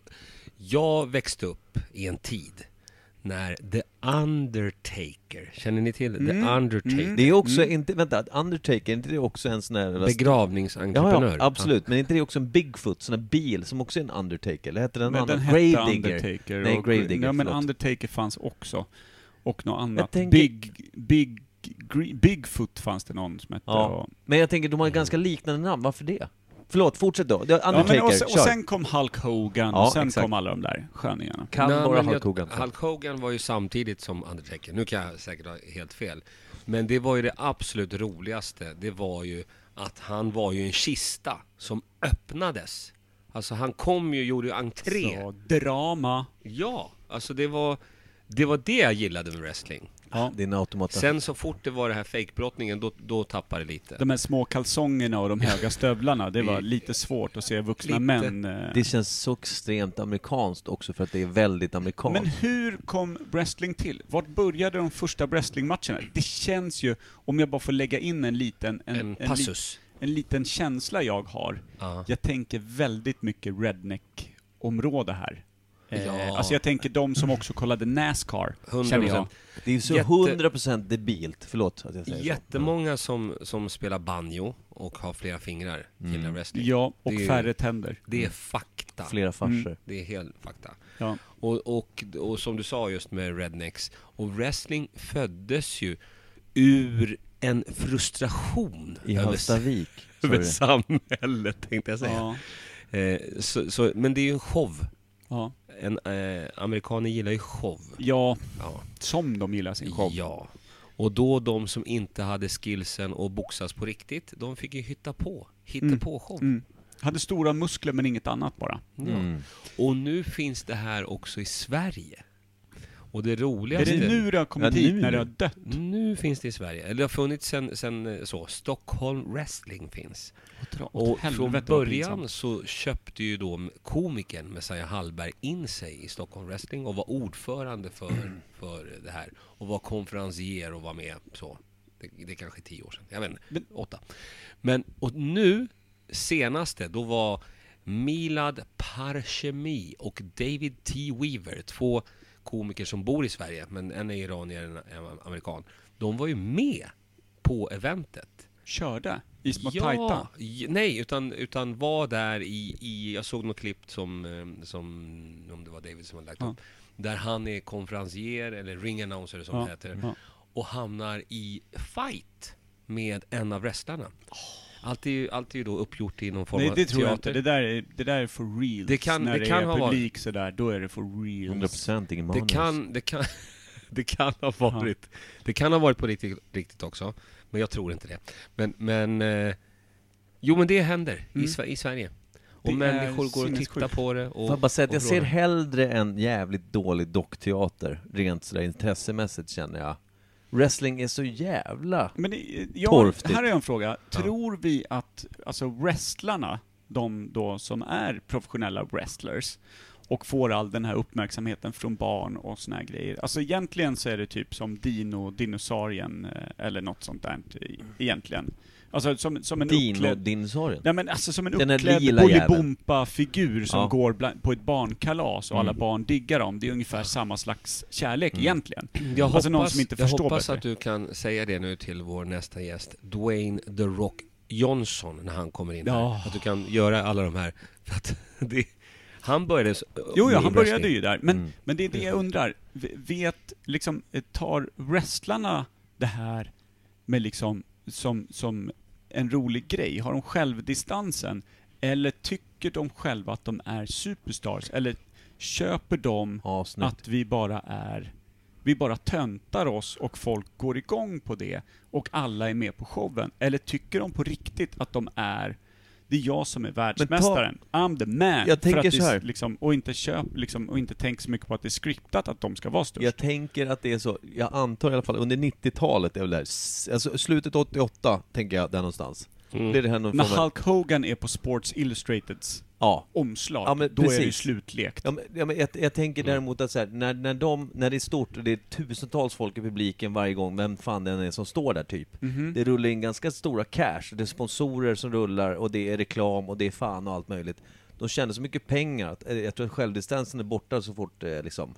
Speaker 3: Jag växte upp i en tid när The Undertaker, känner ni till
Speaker 2: Mm.
Speaker 3: The Undertaker?
Speaker 1: Det är också, inte, vänta, Undertaker, är inte det också en sån här...
Speaker 3: Begravningsentreprenör.
Speaker 1: Ja, ja, absolut. Men är inte det också en Bigfoot, sån här bil som också är en Undertaker? Eller hette den
Speaker 2: Men den
Speaker 1: annan?
Speaker 2: hette
Speaker 1: Gravedigger.
Speaker 2: Undertaker.
Speaker 1: Nej,
Speaker 2: och-
Speaker 1: Gravedigger,
Speaker 2: Ja, men
Speaker 1: förlåt.
Speaker 2: Undertaker fanns också. Och något annat.
Speaker 1: tänker-
Speaker 2: Big, Big, Gre- Bigfoot fanns det någon som hette.
Speaker 1: Ja.
Speaker 2: Och...
Speaker 1: Men jag tänker, de har ganska liknande namn, varför det? Förlåt, fortsätt då. Det-
Speaker 2: Ja,
Speaker 1: Undertaker,
Speaker 2: men och, sen, och
Speaker 1: kör.
Speaker 2: sen kom Hulk Hogan
Speaker 1: Ja,
Speaker 2: och sen
Speaker 1: exakt.
Speaker 2: kom alla de där sköningarna.
Speaker 1: Kan
Speaker 3: Nej,
Speaker 1: bara
Speaker 3: men
Speaker 1: Hulk
Speaker 3: jag-
Speaker 1: Hogan.
Speaker 3: Hulk Hogan var ju samtidigt som Undertaker. Nu kan jag säkert ha helt fel. Men det var ju det absolut roligaste. Det var ju att han var ju en kista som öppnades. Alltså han kom ju, gjorde ju entré.
Speaker 2: Så, drama.
Speaker 3: Ja, alltså det var, det var det jag gillade med wrestling.
Speaker 2: Ja.
Speaker 1: Din automat.
Speaker 3: Sen så fort det var det här fejkbrottningen, då, då tappade det lite.
Speaker 2: De här små kalsongerna och de höga stövlarna, det var
Speaker 3: I-
Speaker 2: lite svårt att se vuxna
Speaker 3: Lite.
Speaker 2: män. eh.
Speaker 1: Det känns så extremt amerikanskt också för att det är väldigt
Speaker 2: Men
Speaker 1: amerikanskt.
Speaker 2: hur kom wrestling till? Vart började de första wrestlingmatcherna? Det känns ju, om jag bara får lägga in en liten...
Speaker 3: En
Speaker 2: li-
Speaker 3: passus.
Speaker 2: en liten känsla jag har.
Speaker 3: Ja.
Speaker 2: Jag tänker väldigt mycket redneck-område här. Eh,
Speaker 3: Ja.
Speaker 2: Alltså jag tänker de som också kollade Nascar,
Speaker 3: 100%.
Speaker 2: känner jag.
Speaker 1: Det är ju så
Speaker 3: Jätte-
Speaker 1: 100% debilt, förlåt att jag säger
Speaker 3: Jättemånga som, som spelar banjo och har flera fingrar gillar wrestling.
Speaker 2: Mm. Ja, och
Speaker 3: Det är-
Speaker 2: färre tänder.
Speaker 3: Det är fakta.
Speaker 1: så. Flera
Speaker 2: Mm.
Speaker 1: farser.
Speaker 3: Det är helt fakta.
Speaker 2: Ja.
Speaker 3: Och, och, och som du sa just med rednecks, och wrestling föddes ju ur en frustration
Speaker 1: I
Speaker 3: över-
Speaker 1: Hallstavik. sa du
Speaker 3: över
Speaker 1: det?
Speaker 3: samhället, tänkte jag säga.
Speaker 2: Ja,
Speaker 3: Eh, så, så, men det är ju en show.
Speaker 2: ja.
Speaker 3: En, eh, amerikaner gillar ju show.
Speaker 2: ja,
Speaker 3: Ja.
Speaker 2: som de gillar sin show.
Speaker 3: ja. Och då de som inte hade skillsen och boxas på riktigt, de fick ju hitta på. Hitta på show.
Speaker 2: Mm. Hade stora muskler men inget annat bara.
Speaker 3: Ja.
Speaker 2: Mm.
Speaker 3: Och nu finns det här också i Sverige. Och det
Speaker 2: Är
Speaker 3: roligaste...
Speaker 2: det nu det har kommit
Speaker 1: Ja,
Speaker 2: hit,
Speaker 1: nu.
Speaker 2: när det har dött?
Speaker 3: Nu finns det i Sverige. Eller det har funnits sen, sen eh, så. Stockholm wrestling finns. Och från början så köpte ju då komikern Messiah Hallberg in sig i Stockholm wrestling och var ordförande för, för det här. Och var konferencier och var med så. Det, det är kanske är tio år sedan. Jag vet inte.
Speaker 2: Men-
Speaker 3: åtta. Men och nu, senaste, då var Milad Parshemi och David T. Weaver, två komiker som bor i Sverige, men en är iranier och en är amerikan. De var ju med på eventet.
Speaker 2: Körde, i små tajta.
Speaker 3: j- nej, utan, utan var där i, i, jag såg något klipp som, eh, som, om det var David som hade lagt
Speaker 2: Ja.
Speaker 3: upp, där han är konferencier eller ring announcer som
Speaker 2: Ja,
Speaker 3: det heter,
Speaker 2: ja.
Speaker 3: och hamnar i fight med en av wrestlarna. Allt är ju, allt är ju då uppgjort i någon form
Speaker 2: Nej,
Speaker 3: av
Speaker 2: det tror jag
Speaker 3: teater.
Speaker 2: inte. Det där är, det där är for reals.
Speaker 3: Det kan-
Speaker 2: när
Speaker 3: det
Speaker 2: det,
Speaker 3: kan
Speaker 2: är
Speaker 3: ha varit-
Speaker 2: publik sådär, då är det for reals.
Speaker 1: 100% ingen
Speaker 3: Det
Speaker 1: manus.
Speaker 3: kan, det kan, det kan ha varit, det kan ha varit på riktigt, riktigt också. Men jag tror inte det. Men, men eh, jo men det händer i, Sve- i Sverige. Och
Speaker 2: Mm. Det är
Speaker 3: människor går och tittar
Speaker 2: sinnessjukt. alltså,
Speaker 3: på det och,
Speaker 1: Får jag bara säga att
Speaker 3: och
Speaker 1: jag ser
Speaker 3: frågar.
Speaker 1: hellre en jävligt dålig dockteater, rent sådär intressemässigt känner jag. Wrestling är så jävla...
Speaker 2: Men eh, jag,
Speaker 1: Torftigt.
Speaker 2: här har jag en fråga. Tror vi att, alltså wrestlarna, de då som är professionella wrestlers, och får all den här uppmärksamheten från barn och såna här grejer. Alltså egentligen så är det typ som Dino, dinosaurien eh, eller något sånt där e- egentligen. Alltså som, som en
Speaker 1: Dino,
Speaker 2: uppklädd...
Speaker 1: dinosaurin.
Speaker 2: Nej men alltså som en
Speaker 1: Den här
Speaker 2: uppklädd
Speaker 1: lila jäveln.
Speaker 2: Bolibompa-figur som
Speaker 1: Ja. Mm.
Speaker 2: går bland, på ett barnkalas och alla barn diggar dem. Det är ungefär samma slags kärlek egentligen.
Speaker 3: Jag hoppas,
Speaker 2: alltså någon som inte
Speaker 3: jag
Speaker 2: förstår
Speaker 3: hoppas
Speaker 2: bättre.
Speaker 3: att du kan säga det nu till vår nästa gäst, Dwayne The Rock Johnson, när han kommer in
Speaker 2: Ja.
Speaker 3: här. Att du kan göra alla de här. För att det, han började... så-
Speaker 2: Jo, ja,
Speaker 3: med
Speaker 2: han började
Speaker 3: wrestling.
Speaker 2: ju där. Men,
Speaker 1: Mm.
Speaker 2: men det är det jag undrar. V- Vet, liksom, eh, tar wrestlarna det här med liksom, som, som en rolig grej? Har de självdistansen? Eller tycker de själva att de är superstars? Eller köper de
Speaker 1: Ja, snyggt.
Speaker 2: att vi bara är vi bara töntar oss och folk går igång på det och alla är med på showen. Eller tycker de på riktigt att de är, det är jag som är världsmästaren, I'm the man.
Speaker 1: Jag tänker
Speaker 2: för att det
Speaker 1: så här.
Speaker 2: är Liksom, och inte köp, liksom, och inte tänk så mycket på att det är skriptat att de ska vara störst.
Speaker 1: Jag tänker att det är så, jag antar i alla fall under 90-talet är väl det här, s- alltså slutet 88 tänker jag där någonstans. Blir det här någon
Speaker 2: När
Speaker 1: form av-
Speaker 2: Hulk Hogan är på Sports Illustrateds
Speaker 1: Ja.
Speaker 2: omslag,
Speaker 1: Ja, men
Speaker 2: då är det ju
Speaker 1: precis.
Speaker 2: slutlekt.
Speaker 1: Ja, men, ja, men jag, jag tänker däremot att så här, när, när, de, när det är stort och det är tusentals folk i publiken varje gång, vem fan den är som står där typ. Det rullar in ganska stora cash, det är sponsorer som rullar och det är reklam och det är fan och allt möjligt. De tjänar så mycket pengar att eh, jag tror att självdistansen är borta så fort eh, liksom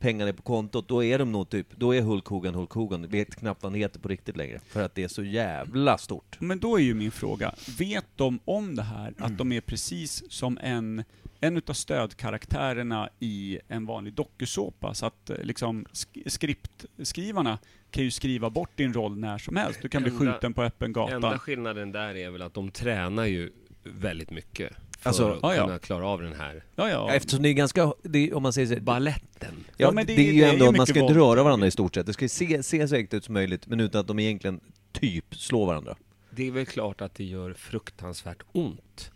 Speaker 1: pengarna är på kontot, då är de nog typ, då är Hulk Hogan Hulk Hogan. Vet knappt vad han heter på riktigt längre. För att det är så jävla stort.
Speaker 2: Men då är ju min fråga, vet de om det här, att de är precis som en, en utav stödkaraktärerna i en vanlig dokusåpa, så att eh, liksom sk- skriptskrivarna kan ju skriva bort din roll när som helst. Du kan bli
Speaker 3: Enda-
Speaker 2: skjuten på öppen
Speaker 3: Enda
Speaker 2: gata.
Speaker 3: skillnaden där är väl att de tränar ju väldigt mycket för
Speaker 1: Alltså,
Speaker 3: att
Speaker 2: ja, ah, ja.
Speaker 3: kunna klara av den här
Speaker 2: Ja, ja.
Speaker 1: Eftersom det är ganska, det är, om man säger så,
Speaker 3: balletten.
Speaker 1: Ja,
Speaker 2: Ja,
Speaker 1: men
Speaker 2: men
Speaker 1: det,
Speaker 2: det-
Speaker 1: är
Speaker 2: det
Speaker 1: ju
Speaker 2: är
Speaker 1: ändå,
Speaker 2: ju
Speaker 1: man
Speaker 2: mycket
Speaker 1: ska inte
Speaker 2: våld.
Speaker 1: röra varandra i stort sett. Det ska ju se, se så äkta ut som möjligt, men utan att de egentligen typ slår varandra.
Speaker 3: Det är väl klart att det gör fruktansvärt ont.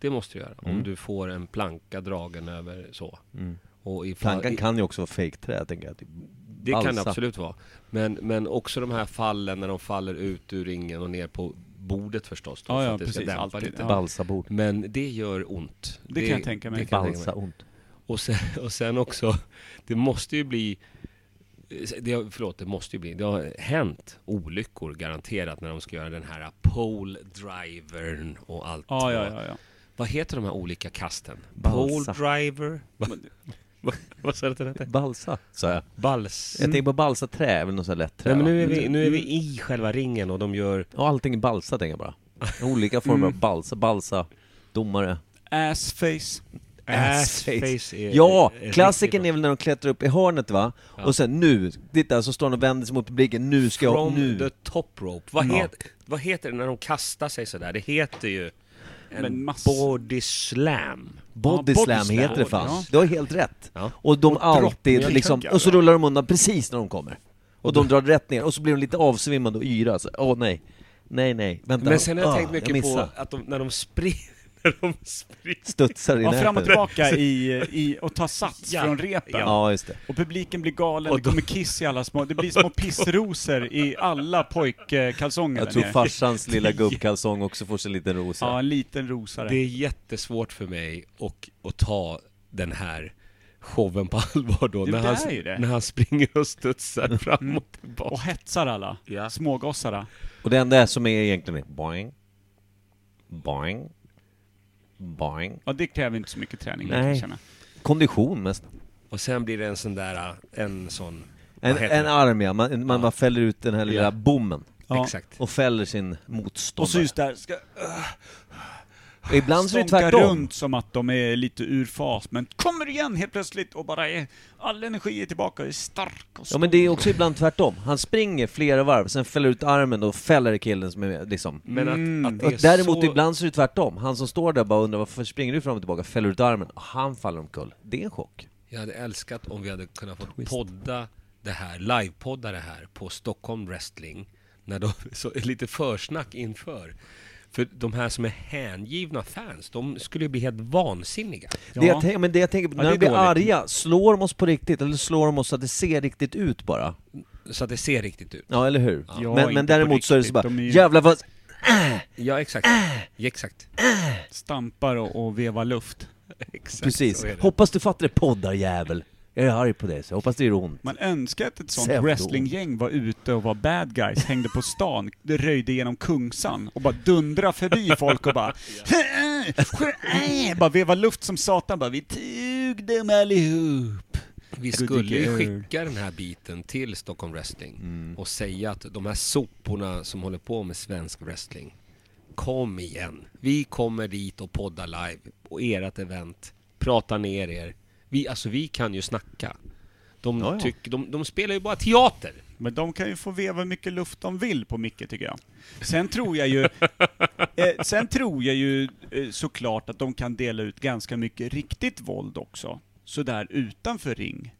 Speaker 3: Det måste det göra.
Speaker 2: Mm.
Speaker 3: Om du får en planka dragen över så. Och ifall-
Speaker 1: Plankan
Speaker 3: i-
Speaker 1: kan ju också vara fejkträ, tänker jag. Typ
Speaker 3: Det kan det
Speaker 1: balsa.
Speaker 3: absolut vara. Men, men också de här fallen när de faller ut ur ringen och ner på bordet förstås. Då,
Speaker 2: Ja,
Speaker 3: för
Speaker 2: Ah, ja,
Speaker 3: att det ska
Speaker 2: precis.
Speaker 3: dämpa
Speaker 2: Alltid.
Speaker 3: lite.
Speaker 2: Ja.
Speaker 1: Balsabord.
Speaker 3: Men det gör ont.
Speaker 2: Det kan jag tänka mig.
Speaker 3: det kan jag tänka mig.
Speaker 1: Balsa ont.
Speaker 3: Och sen, och sen också, det måste ju bli... Det, har- förlåt, det måste ju bli. Det har hänt olyckor garanterat när de ska göra den här pole drivern och allt.
Speaker 2: Ja, ja,
Speaker 3: vad-
Speaker 2: ja, ja.
Speaker 3: Vad heter de här olika kasten?
Speaker 1: Balsa.
Speaker 3: Pole driver? Va- va- Vad sa du att den hette?
Speaker 1: Balsa, sa jag.
Speaker 3: Bals...
Speaker 1: Jag tänker på balsaträ, är väl något sånt här lätt trä?
Speaker 3: Nej, men
Speaker 1: va?
Speaker 3: nu är, vi, nu är vi i själva ringen och de gör...
Speaker 1: Ja, allting är balsa, tänker jag bara. Olika former
Speaker 3: Mm.
Speaker 1: av balsa, balsa, domare.
Speaker 2: Assface.
Speaker 3: Assface är-
Speaker 1: Ja,
Speaker 3: är- är riktigt
Speaker 1: klassikern
Speaker 3: bra.
Speaker 1: är väl när de klättrar upp i hörnet va? Och sen nu, titta, så står de och vänder sig mot publiken, nu ska jag,
Speaker 3: From the
Speaker 1: nu.
Speaker 3: top rope. Vad,
Speaker 1: Ja.
Speaker 3: het, vad heter det när de kastar sig sådär? Det heter ju en
Speaker 2: Men mass-
Speaker 3: body slam.
Speaker 1: Body
Speaker 2: Ja,
Speaker 1: slam
Speaker 2: body
Speaker 1: heter det
Speaker 2: slam.
Speaker 1: fan.
Speaker 2: Ja.
Speaker 1: Du har helt rätt.
Speaker 3: Ja.
Speaker 1: Och de alltid
Speaker 2: droppningar,
Speaker 1: liksom,
Speaker 2: tackar.
Speaker 1: och så rullar de undan precis när de kommer. Och de drar rätt ner, och så blir de lite avsvimmade och yra. så, Åh nej, nej nej, vänta.
Speaker 3: Men sen har jag
Speaker 1: Ah,
Speaker 3: tänkt mycket på
Speaker 1: missade.
Speaker 3: att de, när de springer... När de springer...
Speaker 1: Studsar i
Speaker 2: Ja, fram och
Speaker 1: nätet.
Speaker 2: tillbaka i, i, och ta sats
Speaker 3: Ja.
Speaker 2: från repen.
Speaker 1: Ja, just det.
Speaker 2: Och publiken blir galen,
Speaker 3: Och
Speaker 2: det
Speaker 3: då-
Speaker 2: kommer kiss i alla små, det blir små pissrosor i alla pojkkalsonger
Speaker 1: Jag
Speaker 2: där
Speaker 1: tror
Speaker 2: nere.
Speaker 1: farsans lilla gubbkalsong också får sig en liten ros
Speaker 2: Ja,
Speaker 1: här.
Speaker 2: en liten rosare.
Speaker 3: Det är jättesvårt för mig och, att ta den här showen på allvar då.
Speaker 2: Det
Speaker 3: när,
Speaker 2: där
Speaker 3: han,
Speaker 2: är ju det. Mm.
Speaker 3: när han springer och studsar fram och
Speaker 2: Och
Speaker 3: tillbaka.
Speaker 2: hetsar alla.
Speaker 3: Ja.
Speaker 2: Smågossarna.
Speaker 1: Och det enda som är egentligen är boing, boing, boing.
Speaker 2: Ja, det kräver inte så mycket träning.
Speaker 1: Nej.
Speaker 2: kan Jag känna.
Speaker 1: Kondition mest.
Speaker 3: Och sen blir det en sån där, en sån...
Speaker 1: En,
Speaker 3: vad heter
Speaker 1: en
Speaker 3: det?
Speaker 1: arm ja, man, man bara fäller ut den här lilla
Speaker 3: Ja.
Speaker 1: bommen.
Speaker 2: Ja.
Speaker 3: Exakt.
Speaker 1: Och fäller sin motståndare.
Speaker 2: Och så just där, ska
Speaker 1: Och ibland så är det
Speaker 2: stånka
Speaker 1: tvärtom.
Speaker 2: runt som att de är lite ur fas, men kommer igen helt plötsligt och bara är, all energi är tillbaka, är stark och
Speaker 1: Ja
Speaker 2: stor.
Speaker 1: men det är också ibland tvärtom. Han springer flera varv, sen fäller ut armen och fäller killen som är med, liksom.
Speaker 2: Mm,
Speaker 3: Men att, att det
Speaker 1: Och
Speaker 3: är
Speaker 1: däremot typ
Speaker 3: så...
Speaker 1: ibland så är det tvärtom. Han som står där bara undrar varför springer du fram och tillbaka, fäller ut armen, och han faller omkull. Det är en chock.
Speaker 3: Jag hade älskat om vi hade kunnat få podda det här, livepodda det här på Stockholm Wrestling. När de, så, lite försnack inför. För de här som är hängivna fans, de skulle ju bli helt vansinniga.
Speaker 1: Det,
Speaker 2: Ja.
Speaker 1: jag tänker, men det jag tänker på,
Speaker 2: Ja,
Speaker 1: när
Speaker 2: det
Speaker 1: de
Speaker 2: är
Speaker 1: blir
Speaker 2: dåligt.
Speaker 1: arga, slår de oss på riktigt eller slår de oss så att det ser riktigt ut bara?
Speaker 3: Så att det ser riktigt ut.
Speaker 1: Ja, eller hur?
Speaker 2: Ja,
Speaker 1: men,
Speaker 2: inte
Speaker 1: men
Speaker 2: på
Speaker 1: däremot så är det så
Speaker 2: riktigt.
Speaker 1: bara,
Speaker 2: De är ju-
Speaker 1: jävlar vad...
Speaker 3: Ja, exakt. Ja, Exakt.
Speaker 2: Stampar och, och vevar luft.
Speaker 3: exakt.
Speaker 1: Precis.
Speaker 3: så är det.
Speaker 1: Hoppas du fattar det poddarjävel. Jag är arg på dig, så jag hoppas det gör ont.
Speaker 2: Man önskar att ett sånt
Speaker 1: Pseudo.
Speaker 2: wrestlinggäng var ute och var bad guys, hängde på stan, röjde genom Kungsan och bara dundra förbi folk och bara bara veva luft som satan bara vi tog dem allihop.
Speaker 3: Vi skulle ju skicka den här biten till Stockholm Wrestling och säga att de här soporna som håller på med svensk wrestling, kom igen. Vi kommer dit och poddar live och ert event, prata ner er. Vi, alltså vi kan ju snacka. De,
Speaker 1: Ja, ja.
Speaker 3: Tycker, de, de spelar ju bara teater.
Speaker 2: Men de kan ju få veva hur mycket luft de vill på Micke, tycker jag. Sen tror jag ju, eh, sen tror jag ju eh, såklart att de kan dela ut ganska mycket riktigt våld också, sådär utanför ring.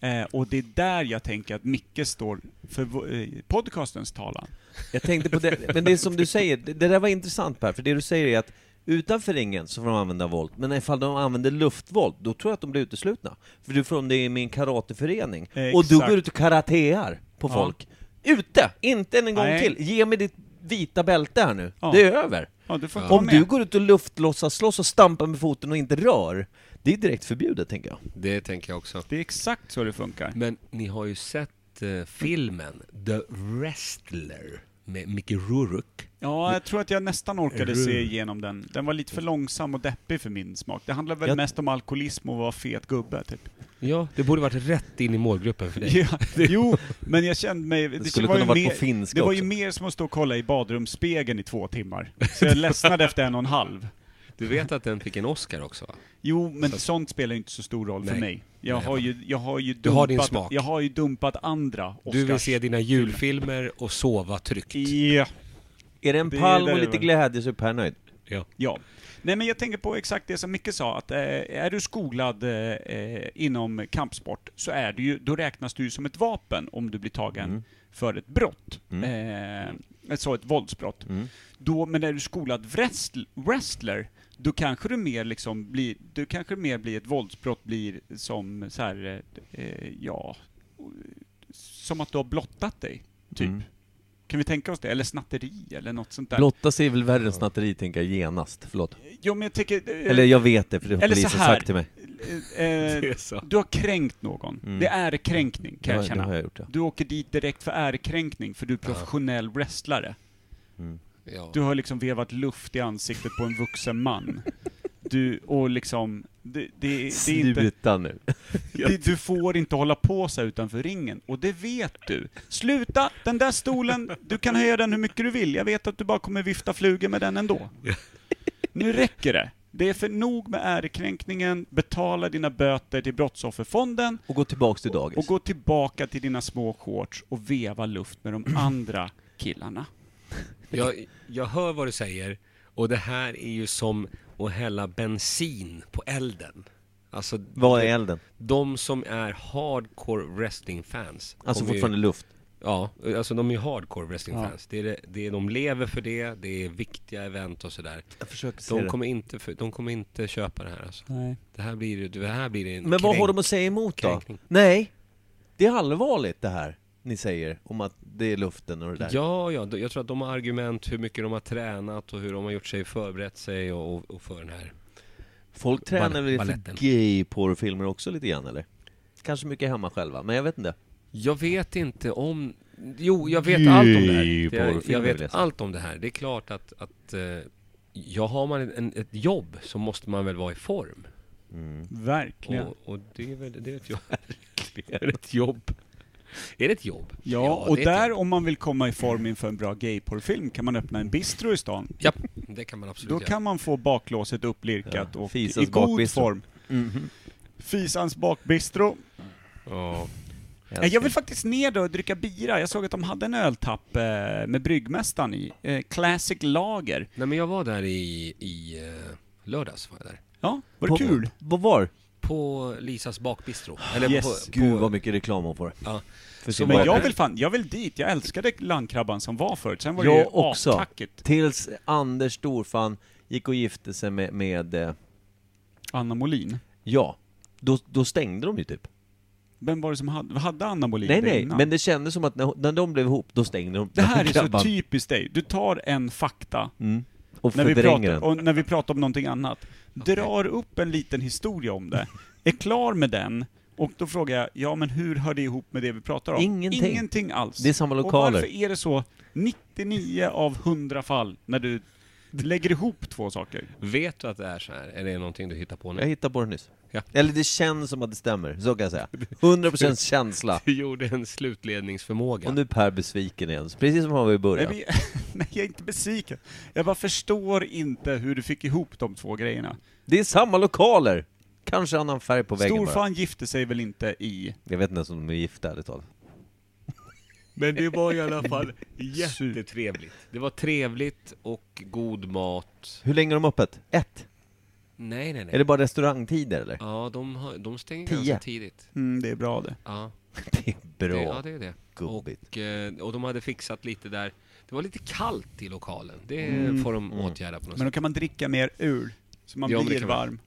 Speaker 2: Eh, och det är där jag tänker att Micke står för vo- eh, podcastens talan.
Speaker 1: Jag tänkte på det, men det är som du säger, det, det där var intressant Per, för det du säger är att utanför ringen så får de använda våld, men ifall de använder luftvåld, då tror jag att de blir uteslutna. För du får om det är med en karateförening,
Speaker 2: Eh,
Speaker 1: och du
Speaker 2: exakt.
Speaker 1: går ut och karatear på
Speaker 2: Ja.
Speaker 1: folk. Ute! Inte en gång
Speaker 2: Nej.
Speaker 1: till! Ge mig ditt vita bälte här nu,
Speaker 2: Ja.
Speaker 1: det är över!
Speaker 2: Ja, du får
Speaker 1: Om
Speaker 2: komma
Speaker 1: du
Speaker 2: med.
Speaker 1: går ut och luftlossas, slåss och stampar med foten och inte rör, det är direkt förbjudet tänker jag.
Speaker 3: Det tänker jag också.
Speaker 2: Det är exakt så det funkar.
Speaker 3: Men ni har ju sett eh, filmen The Wrestler med Mickey Rourke.
Speaker 1: Mm.
Speaker 2: Ja, jag tror att jag nästan orkade se
Speaker 3: Rull.
Speaker 2: igenom den. Den var lite för långsam och deppig för min smak. Det handlar väl
Speaker 1: Jag-
Speaker 2: mest om alkoholism och vara fet gubbe, typ.
Speaker 3: Ja, det borde varit rätt in i målgruppen för dig.
Speaker 2: Ja, jo, men jag kände mig...
Speaker 1: Det skulle
Speaker 2: var ju
Speaker 1: kunna varit på
Speaker 2: mer-
Speaker 1: finska
Speaker 2: Det var ju
Speaker 1: också.
Speaker 2: mer som att stå och kolla i badrumsspegeln i två timmar. Så jag ledsnade efter en och en halv.
Speaker 3: Du vet att den fick en Oscar också va?
Speaker 2: Jo, men sånt spelar ju inte så stor roll för
Speaker 3: Nej.
Speaker 2: mig. Jag
Speaker 3: Nej,
Speaker 2: har ju, jag har ju dumpat,
Speaker 3: Du har din smak.
Speaker 2: Jag har ju dumpat andra Oscars.
Speaker 3: Du vill se dina julfilmer och sova tryggt.
Speaker 2: Ja.
Speaker 1: Är det en
Speaker 2: Det är
Speaker 1: palm
Speaker 2: där
Speaker 1: och
Speaker 2: det
Speaker 1: lite
Speaker 2: var.
Speaker 1: glädje så är Per nöjd.
Speaker 3: Ja.
Speaker 2: Ja. Nej men jag tänker på exakt det som Micke sa, att eh, är du skolad eh, eh, inom kampsport så är du ju, då räknas du ju som ett vapen om du blir tagen
Speaker 1: Mm.
Speaker 2: för ett brott. Eh, så ett våldsbrott.
Speaker 1: Mm.
Speaker 2: Då, men är du skolad wrestl- wrestler, då kanske du mer liksom blir, du kanske mer blir ett våldsbrott blir som så här, eh, ja, som att du har blottat dig, typ.
Speaker 1: Mm.
Speaker 2: Kan vi tänka oss det? Eller snatteri eller något sånt där.
Speaker 1: Blotta sig är väl värre än snatteri tänker jag genast, förlåt.
Speaker 2: Jo men jag tänker... eh,
Speaker 1: Eller jag vet det för det har
Speaker 2: Eller så
Speaker 1: polisen
Speaker 2: här.
Speaker 1: sagt till mig.
Speaker 2: Eh,
Speaker 3: Det är så.
Speaker 2: du har kränkt någon.
Speaker 1: Mm.
Speaker 2: Det är kränkning, kan
Speaker 1: Det har,
Speaker 2: jag
Speaker 1: det har
Speaker 2: känna.
Speaker 1: jag gjort ja.
Speaker 2: Du åker dit direkt för ärekränkning, för du är professionell wrestlare.
Speaker 3: Ja.
Speaker 2: Du har liksom vevat luft i ansiktet på en vuxen man. Du, och liksom, det, det, det är inte,
Speaker 1: Sluta nu.
Speaker 2: det, du får inte hålla på så här utanför ringen, och det vet du. Sluta! Den där stolen, du kan höja den hur mycket du vill, jag vet att du bara kommer vifta flugor med den ändå. Nu räcker det. Det är för nog med ärekränkningen, betala dina böter till Brottsofferfonden,
Speaker 1: Och gå tillbaks till dagis.
Speaker 2: och gå tillbaka till dina små shorts och veva luft med de andra killarna.
Speaker 3: Jag, jag hör vad du säger och det här är ju som att hälla bensin på elden. Alltså,
Speaker 1: Vad är elden?
Speaker 3: de som är hardcore wrestling-fans.
Speaker 1: Alltså
Speaker 3: kommer ju-
Speaker 1: fortfarande luft.
Speaker 3: Ja, alltså de är ju hardcore wrestling-fans.
Speaker 2: Ja.
Speaker 3: Det är det, det är, de lever för det, det är viktiga event och sådär.
Speaker 1: Jag försöker se
Speaker 3: De
Speaker 1: det.
Speaker 3: kommer, inte för, de kommer inte köpa det här alltså.
Speaker 2: Nej.
Speaker 3: Det här blir, det här blir en
Speaker 1: Men vad har
Speaker 3: kränk.
Speaker 1: de att säga emot då?
Speaker 3: Kränkning.
Speaker 1: Nej, det är allvarligt det här ni säger om att det är luften och det där.
Speaker 3: Ja, ja, då- jag tror att de har argument hur mycket de har tränat och hur de har gjort sig, förberett sig och, och, och för den här.
Speaker 1: Folk tränar väl
Speaker 3: Baletten.
Speaker 1: för gay-porrfilmer också lite grann eller? Kanske mycket hemma själva, men jag vet inte.
Speaker 3: Jag vet inte om... Jo, jag vet allt om det här. Jag,
Speaker 1: porrfilmer
Speaker 3: jag
Speaker 1: vill jag
Speaker 3: vet
Speaker 1: säga.
Speaker 3: allt om det här. Det är klart att... att eh, ja, har man en, ett jobb så måste man väl vara i form.
Speaker 2: Verkligen.
Speaker 3: Och, och det är väl det är ett jobb. är det ett jobb? Är det ett jobb?
Speaker 2: ja,
Speaker 3: det
Speaker 2: och
Speaker 3: är ett
Speaker 2: där
Speaker 3: jobb.
Speaker 2: om man vill komma i form inför en bra gayporrfilm kan man öppna en bistro i stan.
Speaker 3: Ja, det kan man absolut
Speaker 2: Då
Speaker 3: göra.
Speaker 2: kan man få baklåset upplirkat
Speaker 1: Ja,
Speaker 2: och i
Speaker 1: Fisans
Speaker 2: god
Speaker 1: bakbistro.
Speaker 2: form. Fisans bakbistro. Eh,
Speaker 3: Ja.
Speaker 2: Jag, jag vill faktiskt ner då och dricka bira. Jag såg att de hade en öltapp eh, med bryggmästaren i. Eh, classic Lager.
Speaker 3: Nej, men jag var där i, i eh, lördags. Var jag där.
Speaker 2: Ja, var det kul?
Speaker 1: Vad var?
Speaker 3: På Lisas bakbistro. Eller
Speaker 2: Yes.
Speaker 3: på, på,
Speaker 1: Gud vad mycket reklam hon får.
Speaker 3: Ja.
Speaker 1: För sin
Speaker 2: Men jag
Speaker 1: bakelse.
Speaker 2: vill fan, jag vill dit. Jag älskade landkrabban som var förut. Sen var det ju
Speaker 1: Jag också.
Speaker 2: astackigt.
Speaker 1: Tills Anders Storfan gick och gifte sig med, med eh,
Speaker 2: Anna Molin.
Speaker 1: ja, då, då stängde de ju typ.
Speaker 2: Vem var det som hade, hade Anna Molin
Speaker 1: Nej
Speaker 2: det
Speaker 1: nej,
Speaker 2: innan?
Speaker 1: men det kändes som att när, när de blev ihop, då stängde de
Speaker 2: Det här är så
Speaker 1: grabbarna
Speaker 2: typiskt dig. Du tar en fakta
Speaker 1: Mm. och
Speaker 2: när vi,
Speaker 1: fördränger
Speaker 2: pratar,
Speaker 1: den.
Speaker 2: och när vi pratar om någonting annat. Drar upp en liten historia om det, är klar med den, och då frågar jag, ja men hur hör det ihop med det vi pratar om?
Speaker 1: Ingenting.
Speaker 2: Ingenting alls.
Speaker 1: Det är samma
Speaker 2: Och
Speaker 1: lokaler.
Speaker 2: varför är det så 99 av 100 fall när du lägger ihop två saker?
Speaker 3: Vet du att det är så här? Eller är det någonting du hittar på nu?
Speaker 1: Jag hittade på det nyss.
Speaker 3: Ja.
Speaker 1: Eller det känns som att det stämmer, så kan jag säga. 100% känsla.
Speaker 3: Du gjorde en slutledningsförmåga.
Speaker 1: Och nu är Per besviken igen, precis som han var i
Speaker 2: Nej,
Speaker 1: början.
Speaker 2: men, nej, jag är inte besviken. Jag bara förstår inte hur du fick ihop de två grejerna.
Speaker 1: Det är samma lokaler! Kanske annan färg på väggen bara.
Speaker 2: Storfan gifte sig väl inte i
Speaker 1: Jag vet inte ens om de är gifta, ärligt talat.
Speaker 3: Men det var i alla fall
Speaker 2: jättetrevligt.
Speaker 3: Det var trevligt och god mat.
Speaker 1: Hur länge har de öppet? Ett?
Speaker 3: Nej, nej, nej.
Speaker 1: Är det bara restaurangtider eller?
Speaker 3: Ja, de, har, de stänger
Speaker 1: Tio.
Speaker 3: ganska tidigt.
Speaker 2: Mm, det är bra det.
Speaker 3: Ja,
Speaker 1: Det är
Speaker 3: det,
Speaker 1: bra.
Speaker 3: ja, det är det.
Speaker 1: gubbigt.
Speaker 3: Och, eh, och de hade fixat lite där. Det var lite kallt i lokalen. Det
Speaker 1: Mm.
Speaker 3: får de åtgärda på
Speaker 2: Men
Speaker 3: något
Speaker 2: då
Speaker 3: sätt.
Speaker 2: kan man dricka mer ur, så man
Speaker 3: Ja, men det
Speaker 2: blir
Speaker 3: kan man.
Speaker 2: varm.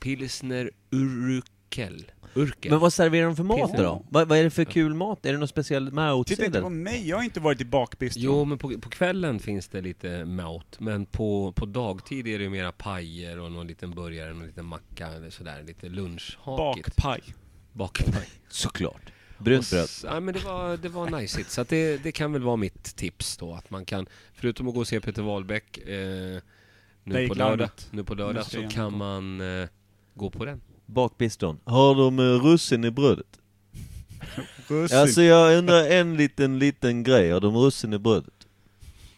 Speaker 3: Pilsner Urkel. Urkel.
Speaker 1: Men vad serverar de för mat
Speaker 3: Pizza.
Speaker 1: då? Vad, vad är det för kul mat? Är det något speciellt med
Speaker 2: Titta Typ inte på
Speaker 1: outsidel?
Speaker 2: mig, jag har inte varit i bakbistro.
Speaker 3: Jo, men på, på kvällen finns det lite mat, men på, på dagtid är det ju mera pajer och någon liten burgare, någon liten macka eller sådär, lite lunchhakigt.
Speaker 2: Bakpaj.
Speaker 3: Bakpaj.
Speaker 1: Såklart. Brunt bröd.
Speaker 3: Ja, men det var, det var najsigt. Så att det, det kan väl vara mitt tips då. Att man kan, förutom att gå och se Peter Wahlbeck eh,
Speaker 2: Där
Speaker 3: nu,
Speaker 2: gick
Speaker 3: på lördag,
Speaker 2: larmet.
Speaker 3: nu på lördag
Speaker 2: Måste
Speaker 3: så
Speaker 2: jag
Speaker 3: kan man eh, gå på den.
Speaker 1: Bakbistånd. Har de eh, russin i brödet? Alltså jag undrar en liten, liten grej. Har de russin i brödet?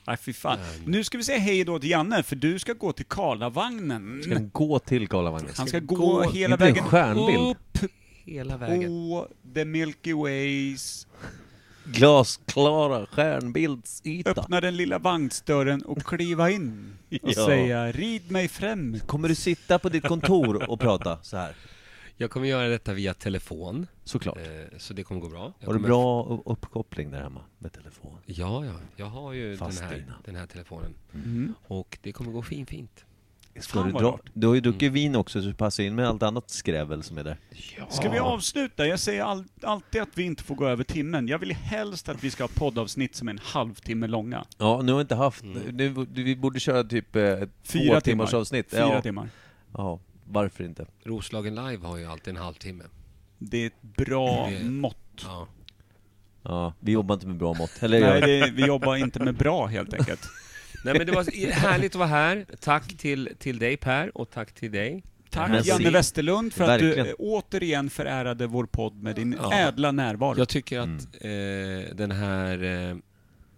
Speaker 2: Nej, fy fan. Nu ska vi säga hej då till Janne, för du ska gå till Karlavagnen.
Speaker 1: Ska den gå till Karlavagnen?
Speaker 2: Han ska gå,
Speaker 3: gå-
Speaker 2: hela
Speaker 1: Inte en
Speaker 2: vägen
Speaker 1: stjärnbild.
Speaker 2: upp
Speaker 3: Hela vägen.
Speaker 2: på the Milky Ways.
Speaker 1: Glasklara stjärnbildsyta.
Speaker 2: Öppna den lilla vagnsdörren och kliva in och
Speaker 1: Ja.
Speaker 2: säga rid mig fram.
Speaker 1: Kommer du sitta på ditt kontor och prata så här?
Speaker 3: Jag kommer göra detta via telefon.
Speaker 1: Såklart.
Speaker 3: Eh, så det kommer gå bra. Jag
Speaker 1: Har du
Speaker 3: kommer-
Speaker 1: bra u- uppkoppling där hemma med telefon?
Speaker 3: Ja, ja. Jag har ju den
Speaker 1: Fast
Speaker 3: här,
Speaker 1: dina.
Speaker 3: den här telefonen.
Speaker 2: Mm.
Speaker 3: Och det kommer gå fin, fint.
Speaker 1: Ska
Speaker 2: Fan,
Speaker 1: du
Speaker 2: vad
Speaker 1: dra?
Speaker 2: rart.
Speaker 1: Du har ju druckit vin också så du passar in med allt annat skrävel som är där.
Speaker 2: Ska vi avsluta? Jag säger all, alltid att vi inte får gå över timmen. Jag vill helst att vi ska ha poddavsnitt som är en halvtimme långa.
Speaker 1: Ja, nu har jag inte haft... Nu, vi borde köra typ eh, ett
Speaker 2: Fyra
Speaker 1: två timmars
Speaker 2: timmar.
Speaker 1: avsnitt.
Speaker 2: Fyra
Speaker 1: ja.
Speaker 2: timmar.
Speaker 1: ja, varför inte?
Speaker 3: Roslagen Live har ju alltid en halvtimme.
Speaker 2: Det är ett bra
Speaker 3: Det-
Speaker 2: mått.
Speaker 3: Ja.
Speaker 1: Ja, vi jobbar inte med bra mått. Eller
Speaker 2: Nej,
Speaker 1: gör vi?
Speaker 2: det, vi jobbar inte med bra helt enkelt.
Speaker 3: Nej men det var härligt att vara här. Tack till, till dig Per och tack till dig.
Speaker 2: Tack
Speaker 1: Men
Speaker 2: Janne
Speaker 1: se-
Speaker 2: Westerlund för att du
Speaker 1: Verkligen.
Speaker 2: eh, återigen förärade vår podd med din
Speaker 3: Ja.
Speaker 2: ädla närvaro.
Speaker 3: Jag tycker
Speaker 2: Mm.
Speaker 3: att eh, den här eh,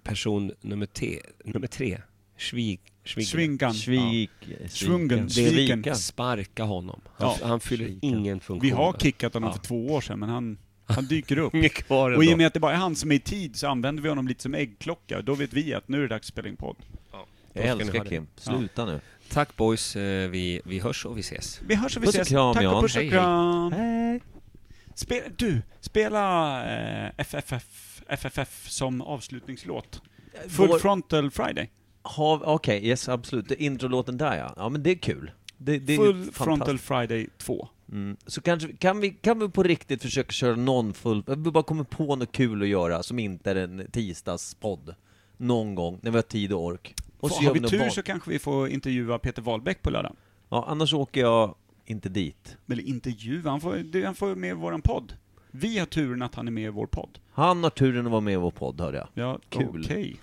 Speaker 3: person nummer, te, nummer tre, Schwig, Schwig,
Speaker 2: Svinkan.
Speaker 1: Svik...
Speaker 2: Svungen.
Speaker 3: det är
Speaker 2: Sviken.
Speaker 3: vi- sparka honom. Han,
Speaker 2: Ja.
Speaker 3: han fyller ingen funktion.
Speaker 2: Vi har kickat honom
Speaker 3: Ja.
Speaker 2: för två år sedan, men han, han dyker upp.
Speaker 3: Inget kvar
Speaker 2: Och i
Speaker 3: ändå.
Speaker 2: och med att det bara är han som är i tid så använder vi honom lite som äggklocka. Då vet vi att nu är det dags att spela in podd.
Speaker 1: Jag älskar Kim. Sluta nu.
Speaker 3: Tack boys, eh, vi, vi hörs och vi ses.
Speaker 2: Vi hörs och vi
Speaker 1: Puss och
Speaker 2: ses.
Speaker 1: kram,
Speaker 2: Tack och
Speaker 1: Jan.
Speaker 2: puss och
Speaker 3: Hej, hej.
Speaker 2: kram.
Speaker 1: Hej!
Speaker 2: Spela, du, spela eh, FFF, FFF som avslutningslåt. Full
Speaker 1: Vår-
Speaker 2: Frontal Friday.
Speaker 1: Har- Okej, yes absolut. Det är Introlåten där ja. Ja men det är kul. Det, det är ju
Speaker 2: Full
Speaker 1: fantastiskt.
Speaker 2: Frontal Friday 2.
Speaker 1: Mm. Så kanske, kan vi, kan vi på riktigt försöka köra någon full, vi bara kommer på något kul att göra som inte är en tisdagspodd. Någon gång, när vi har tid och ork. Och
Speaker 2: Får- har vi
Speaker 1: något
Speaker 2: tur
Speaker 1: val.
Speaker 2: så kanske vi får intervjua Peter Wahlbeck på lördag.
Speaker 1: Ja, annars åker jag inte dit.
Speaker 2: Eller intervjua, han får, det- han får med i våran podd. Vi har turen att han är med i vår podd.
Speaker 1: Han har turen att vara med i vår podd hörde jag.
Speaker 2: Ja,
Speaker 1: Kul.
Speaker 2: okej.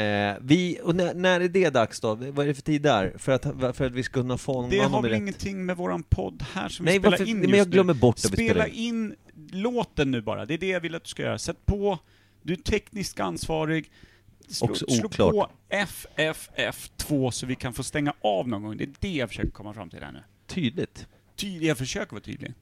Speaker 1: Eh, vi, och när, när är det dags då? Vad är det för tid där? För att, för att vi ska kunna fånga
Speaker 2: Det har
Speaker 1: honom i
Speaker 2: väl
Speaker 1: rätt...
Speaker 2: ingenting med våran podd här som
Speaker 1: Nej,
Speaker 2: vi spelar
Speaker 1: varför-
Speaker 2: in
Speaker 1: men
Speaker 2: just
Speaker 1: jag glömmer
Speaker 2: nu.
Speaker 1: bort att vi
Speaker 2: Spela
Speaker 1: spelar
Speaker 2: in låten nu bara, det är det jag vill att du ska göra. Sätt på, du är tekniskt ansvarig. Slå,
Speaker 1: Också
Speaker 2: slå
Speaker 1: oklart.
Speaker 2: på FFF2 så vi kan få stänga av någon gång. Det är det jag försöker komma fram till här nu.
Speaker 1: Tydligt.
Speaker 2: Tydlig, jag försöker vara tydlig.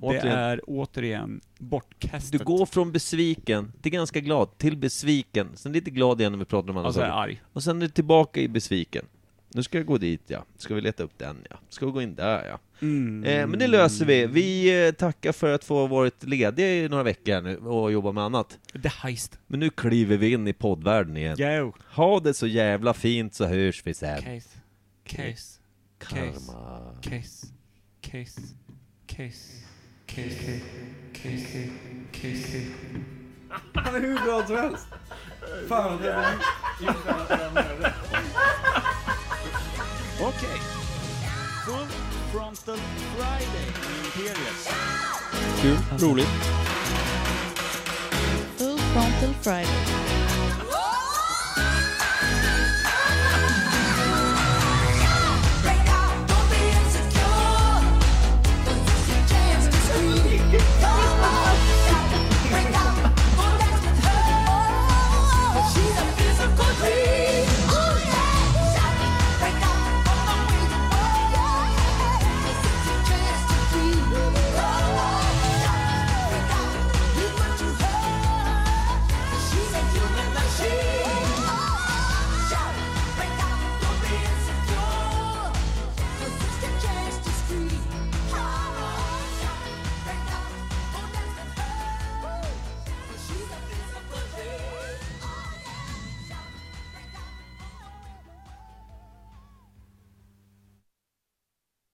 Speaker 2: Det
Speaker 1: Återigen.
Speaker 2: är återigen bortkastat.
Speaker 1: Du går från besviken till ganska glad, till besviken, sen lite glad igen när vi pratar om andra
Speaker 2: Alltså, jag är
Speaker 1: saker.
Speaker 2: arg.
Speaker 1: Och sen är du tillbaka i besviken. Nu ska jag gå dit ja, ska vi leta upp den ja, ska vi gå in där ja.
Speaker 2: Mm.
Speaker 1: Eh, men det löser vi. Vi eh, tackar för att få ha varit lediga i några veckor här nu och jobba med annat.
Speaker 2: The Heist.
Speaker 1: Men nu kliver vi in i poddvärlden igen.
Speaker 2: Yo.
Speaker 1: Ha det så jävla fint så hörs vi sen.
Speaker 2: Case. Case. Case.
Speaker 1: Karma.
Speaker 2: Case. Case. Case. Case. Case. Case. Han är hur bra som helst. Fan vad det var. Okej. Full Frontal Friday. Imperius.
Speaker 5: Full Frontal Friday.